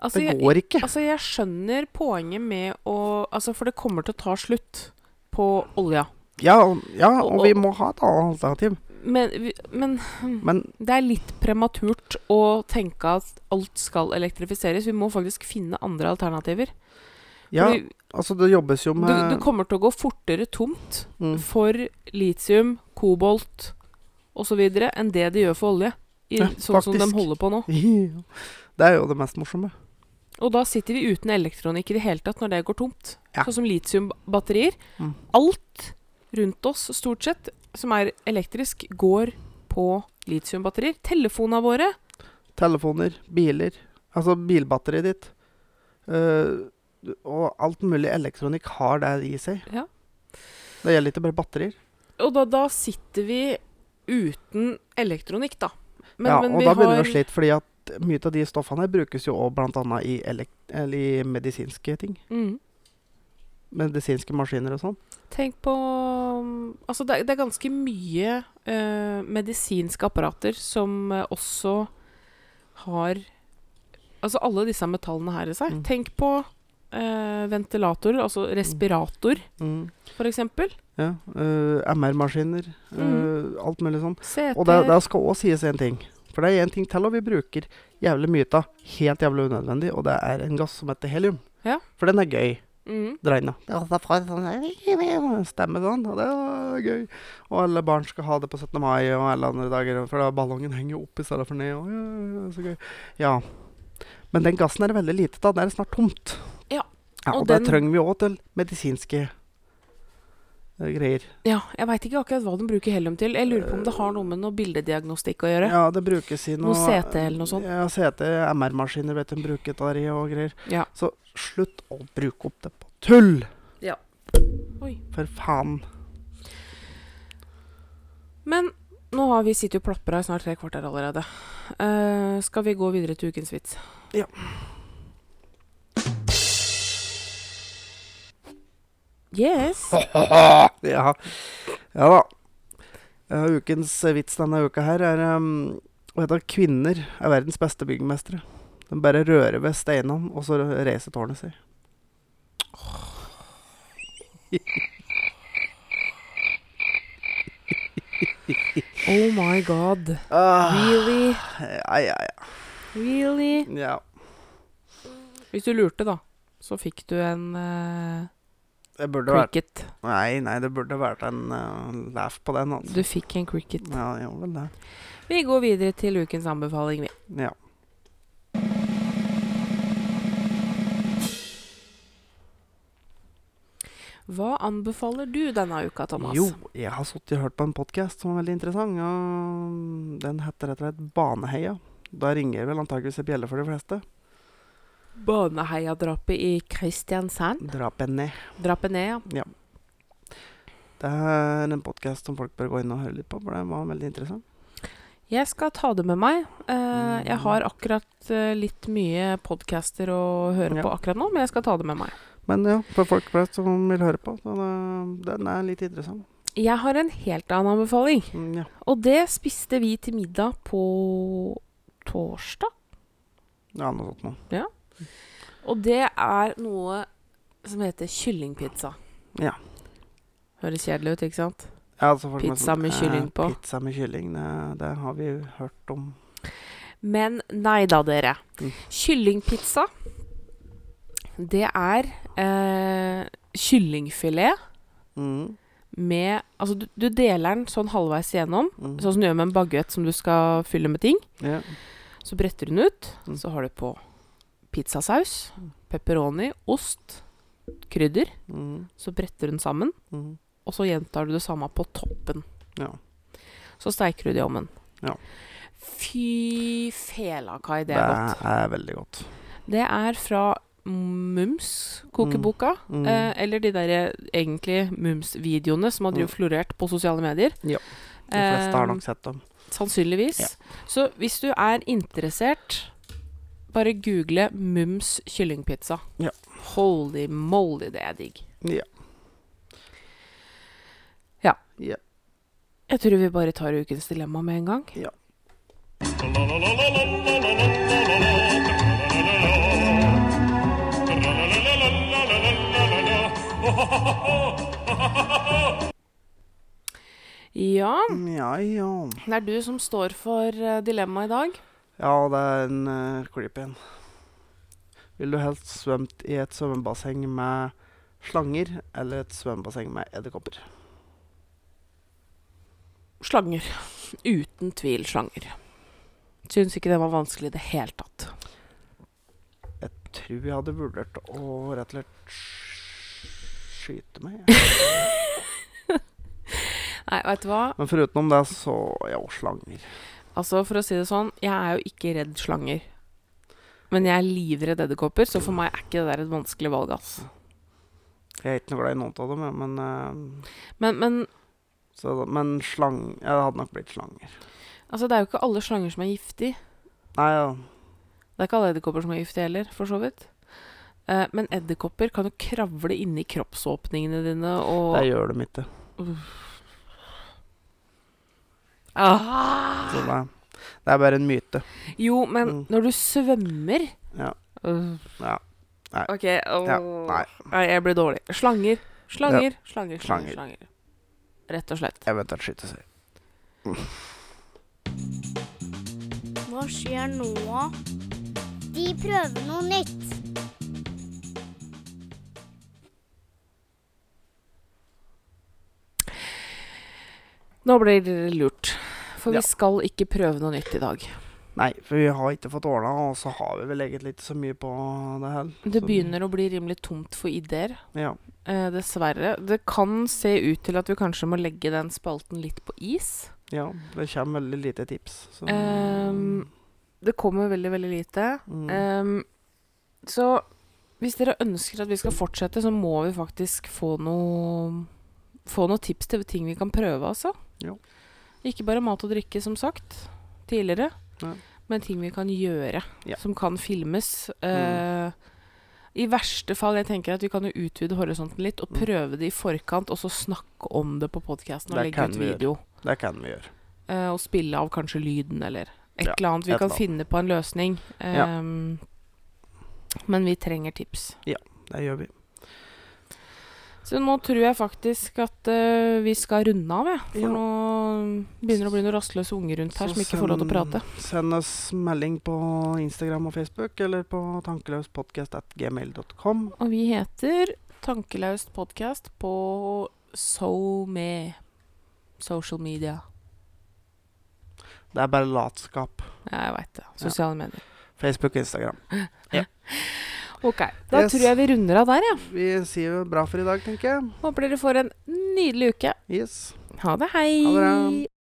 Speaker 1: Altså,
Speaker 2: Det
Speaker 1: jeg,
Speaker 2: går ikke.
Speaker 1: altså, jeg skjønner poenget med å Altså, for det kommer til å ta slutt på olja.
Speaker 2: Ja, og- ja,
Speaker 1: Og-
Speaker 2: og vi må ha et annet alternativ.
Speaker 1: Men, vi- men
Speaker 2: Men
Speaker 1: Det er litt prematurt å tenke at alt skal elektrifiseres. Vi må faktisk finne andre alternativer.
Speaker 2: ja,
Speaker 1: Fordi
Speaker 2: altså det jobbes jo
Speaker 1: du, du
Speaker 2: med
Speaker 1: kommer til å gå fortere tomt
Speaker 2: Mm.
Speaker 1: for litium, kobolt osv. enn det de gjør for olje. I,
Speaker 2: Ja,
Speaker 1: sånn som de
Speaker 2: faktisk.
Speaker 1: holder på nå.
Speaker 2: Det er jo det mest morsomme.
Speaker 1: Og da sitter vi uten elektronikk i det hele tatt når det går tomt.
Speaker 2: Ja.
Speaker 1: Sånn som litiumbatterier.
Speaker 2: Mm.
Speaker 1: Alt rundt oss, stort sett, som er elektrisk, går på litiumbatterier. Telefonene våre
Speaker 2: Telefoner, biler, altså bilbatteriet ditt. eh, og alt mulig elektronikk har det i seg.
Speaker 1: Ja.
Speaker 2: Det gjelder ikke bare batterier.
Speaker 1: Og da, da sitter vi uten elektronikk, da.
Speaker 2: ja, og da begynner vi å slite, fordi at mye av de stoffene her brukes jo òg bl.a. I, elekt- eller i medisinske ting.
Speaker 1: Mm.
Speaker 2: Medisinske maskiner og sånn.
Speaker 1: Tenk på mm, Altså, det, er- det er ganske mye eh, medisinske apparater som eh, også har Altså alle disse metallene her i seg.
Speaker 2: Mm.
Speaker 1: Tenk på eh, ventilatorer, altså respirator,
Speaker 2: Mm.
Speaker 1: for eksempel.
Speaker 2: Ja, eh, MR-maskiner, eh,
Speaker 1: Mhm.
Speaker 2: alt mulig sånn.
Speaker 1: CT
Speaker 2: Og det, det skal òg sies en ting. For det er en ting til og vi bruker jævlig mye av. Helt jævlig unødvendig. Og det er en gass som heter helium.
Speaker 1: Ja.
Speaker 2: For den er gøy.
Speaker 1: mm.
Speaker 2: Dreina. Ja, det er fra en sånn her- stemme sånn. Og det er gøy. Og alle barn skal ha det på 17. mai og alle andre dager. For da ballongen henger jo opp i stedet for ned. Og, ja, ja, ja, så gøy. Ja. Men den gassen er det veldig lite av. Den er det snart tomt.
Speaker 1: Ja,
Speaker 2: ja
Speaker 1: og
Speaker 2: og, det
Speaker 1: den-
Speaker 2: trenger vi òg til medisinske eh, greier.
Speaker 1: Ja, jeg veit ikke akkurat hva de bruker helium til. Jeg lurer på om det har noe med noe bildediagnostikk å gjøre.
Speaker 2: Ja, det brukes i noe,
Speaker 1: Noe CT eller noe sånt.
Speaker 2: Ja, CT, MR-maskiner vet de bruker der i og greier.
Speaker 1: Ja.
Speaker 2: Så slutt å bruke opp det på tull!
Speaker 1: Ja. Oi.
Speaker 2: For faen.
Speaker 1: Men nå har vi sittet og plapra i snart tre kvarter allerede. Eh, skal vi gå videre til ukens vits?
Speaker 2: Ja.
Speaker 1: Yes.
Speaker 2: ja. ja da. Eh, ukens vits denne uka her er um, vet du, kvinner er verdens beste byggmestere. De bare rører ved steinene, og så reiser tårnet seg.
Speaker 1: Oh my god.
Speaker 2: Ah,
Speaker 1: Really?
Speaker 2: ja, ja, ja.
Speaker 1: Really?
Speaker 2: ja.
Speaker 1: Hvis du lurte, da, så fikk du en eh,
Speaker 2: Det burde vært
Speaker 1: cricket.
Speaker 2: Nei, nei, det burde vært en eh, laugh på den, altså.
Speaker 1: Du fikk en cricket.
Speaker 2: Ja, det gjorde vel det.
Speaker 1: Vi går videre til ukens anbefaling, vi.
Speaker 2: Ja.
Speaker 1: Hva anbefaler du denne uka, Thomas?
Speaker 2: Jo, jeg har sittet og hørt på en podkast som var veldig interessant. Og den heter rett og slett Baneheia. Da ringer vel antakeligvis ei bjelle for de fleste.
Speaker 1: Baneheia-drapet i Kristiansand.
Speaker 2: Drap henne.
Speaker 1: Drapet ned, ja.
Speaker 2: Det er en podkast som folk bør gå inn og høre litt på, for den var veldig interessant.
Speaker 1: Jeg skal ta det med meg. Eh,
Speaker 2: Mm.
Speaker 1: Jeg har akkurat eh, litt mye podcaster å høre
Speaker 2: Ja.
Speaker 1: på akkurat nå, men jeg skal ta det med meg.
Speaker 2: Men ja, for folk flest som vil høre på, så det- den er litt interessant.
Speaker 1: Jeg har en helt annen anbefaling,
Speaker 2: Mm, ja.
Speaker 1: og det spiste vi til middag på torsdag.
Speaker 2: ja, noe sånt noe.
Speaker 1: Og det er noe som heter kyllingpizza.
Speaker 2: Ja.
Speaker 1: Høres kjedelig ut, ikke sant?
Speaker 2: Ja, altså folk
Speaker 1: Pizza med
Speaker 2: eh,
Speaker 1: kylling på.
Speaker 2: Pizza med kylling, det, det har vi hørt om.
Speaker 1: Men nei da, dere.
Speaker 2: Mm.
Speaker 1: Kyllingpizza, det er eh, kyllingfilet
Speaker 2: Mm,
Speaker 1: med Altså, du, du deler den sånn halvveis igjennom.
Speaker 2: mm.
Speaker 1: Sånn som du gjør med en baguett som du skal fylle med ting.
Speaker 2: Ja.
Speaker 1: Så bretter du den ut.
Speaker 2: Mm.
Speaker 1: Så har du på pizzasaus,
Speaker 2: Mm.
Speaker 1: pepperoni, ost, krydder.
Speaker 2: Mm,
Speaker 1: Så bretter du den sammen,
Speaker 2: mm,
Speaker 1: og så gjentar du det samme på toppen.
Speaker 2: ja.
Speaker 1: Så steiker du det i ovnen.
Speaker 2: Ja.
Speaker 1: Fy felakai,
Speaker 2: Det
Speaker 1: det er godt.
Speaker 2: er veldig godt.
Speaker 1: Det er fra Mums-kokeboka.
Speaker 2: Mm.
Speaker 1: Eh, eller de der eh, egentlig Mums-videoene som har
Speaker 2: Mm.
Speaker 1: drevet florert på sosiale medier.
Speaker 2: Ja. De fleste har
Speaker 1: Eh,
Speaker 2: nok sett dem.
Speaker 1: Sannsynligvis.
Speaker 2: Ja.
Speaker 1: Så hvis du er interessert, bare google Mums kyllingpizza.
Speaker 2: Ja.
Speaker 1: Holy moly, det er digg.
Speaker 2: Ja.
Speaker 1: Ja.
Speaker 2: Ja.
Speaker 1: Jeg tror vi bare tar ukens dilemma med en gang.
Speaker 2: Ja.
Speaker 1: Ja,
Speaker 2: Mm, Ja, ja.
Speaker 1: det er du som står for eh, dilemmaet i dag.
Speaker 2: Ja, det er en uh, klipp igjen. Vil du helst svømt i et svømmebasseng med slanger eller et svømmebasseng med edderkopper?
Speaker 1: Slanger. Uten tvil slanger. Syns ikke den var vanskelig i det hele tatt.
Speaker 2: Tror jeg hadde vurdert å rett og slett sk- skyte meg. jeg.
Speaker 1: Nei, veit du hva?
Speaker 2: Men foruten det, så ja, slanger.
Speaker 1: Altså, for å si det sånn, jeg er jo ikke redd slanger. Men jeg er livredd edderkopper, så for meg er ikke det der et vanskelig valg, ass.
Speaker 2: Jeg er ikke noe glad i noen av dem, jeg, men, eh,
Speaker 1: Men, men
Speaker 2: så, men slang Ja, det hadde nok blitt slanger.
Speaker 1: altså, det er jo ikke alle slanger som er giftige.
Speaker 2: Nei, ja.
Speaker 1: Det er ikke alle edderkopper som er giftige heller, for så vidt. Eh, men edderkopper kan jo kravle inni kroppsåpningene dine og
Speaker 2: det gjør de ikke.
Speaker 1: ah!
Speaker 2: Så det, det er bare en myte.
Speaker 1: Jo, men
Speaker 2: Mm.
Speaker 1: når du svømmer
Speaker 2: Ja.
Speaker 1: Øh.
Speaker 2: Ja. Nei.
Speaker 1: OK. åh.
Speaker 2: Ja, nei.
Speaker 1: Nei, jeg blir dårlig. Slanger, slanger, slanger,
Speaker 2: Slanger.
Speaker 1: slanger, slanger. Rett og slett.
Speaker 2: Eventuelt skyte seg.
Speaker 3: Hva skjer nå? De prøver noe nytt.
Speaker 1: Nå blir det lurt, for
Speaker 2: Ja.
Speaker 1: vi skal ikke prøve noe nytt i dag.
Speaker 2: Nei, for vi har ikke fått ordna, og så har vi vel egentlig ikke så mye på det heller.
Speaker 1: Det
Speaker 2: Så-
Speaker 1: begynner å bli rimelig tomt for ideer,
Speaker 2: Ja.
Speaker 1: eh, dessverre. Det kan se ut til at vi kanskje må legge den spalten litt på is.
Speaker 2: ja. Det kommer veldig lite tips. Så,
Speaker 1: Ehm, Det kommer veldig, veldig lite.
Speaker 2: mm.
Speaker 1: Ehm, så hvis dere ønsker at vi skal fortsette, så må vi faktisk få noe Få noen tips til ting vi kan prøve, altså.
Speaker 2: Jo.
Speaker 1: Ikke bare mat og drikke, som sagt, tidligere.
Speaker 2: Ja.
Speaker 1: Men ting vi kan gjøre,
Speaker 2: Ja. Mm.
Speaker 1: som kan filmes. Eh, I verste fall, jeg tenker at vi kan jo utvide horisonten litt og
Speaker 2: Mm.
Speaker 1: prøve det i forkant, og så snakke om det på podkasten og
Speaker 2: Det
Speaker 1: legge ut
Speaker 2: kan vi gjøre.
Speaker 1: video.
Speaker 2: Det kan vi gjøre.
Speaker 1: eh, og spille av kanskje lyden eller et
Speaker 2: Ja,
Speaker 1: eller annet. Vi
Speaker 2: et
Speaker 1: kan
Speaker 2: eller annet.
Speaker 1: finne på en løsning.
Speaker 2: Ja.
Speaker 1: Ehm, Men vi trenger tips.
Speaker 2: Det gjør vi.
Speaker 1: Så nå tror jeg faktisk at eh, vi skal runde av, jeg. For
Speaker 2: Ja.
Speaker 1: nå begynner det å bli noen rastløse unger rundt her
Speaker 2: Så
Speaker 1: som ikke får lov til å
Speaker 2: send-
Speaker 1: prate.
Speaker 2: Send oss melding på Instagram og Facebook, eller på tankeløspodkast.gmail.com.
Speaker 1: Og vi heter Tankelaust podkast på SoMe. Social media.
Speaker 2: Det er bare latskap.
Speaker 1: Ja, jeg veit det. Sosiale medier.
Speaker 2: Facebook og Instagram.
Speaker 1: Ok. Da
Speaker 2: Yes.
Speaker 1: tror jeg vi runder av der, jeg.
Speaker 2: Vi sier jo bra for i dag, tenker jeg.
Speaker 1: Håper dere får en nydelig uke.
Speaker 2: Yes.
Speaker 1: Ha det, hei.
Speaker 2: Ha det bra.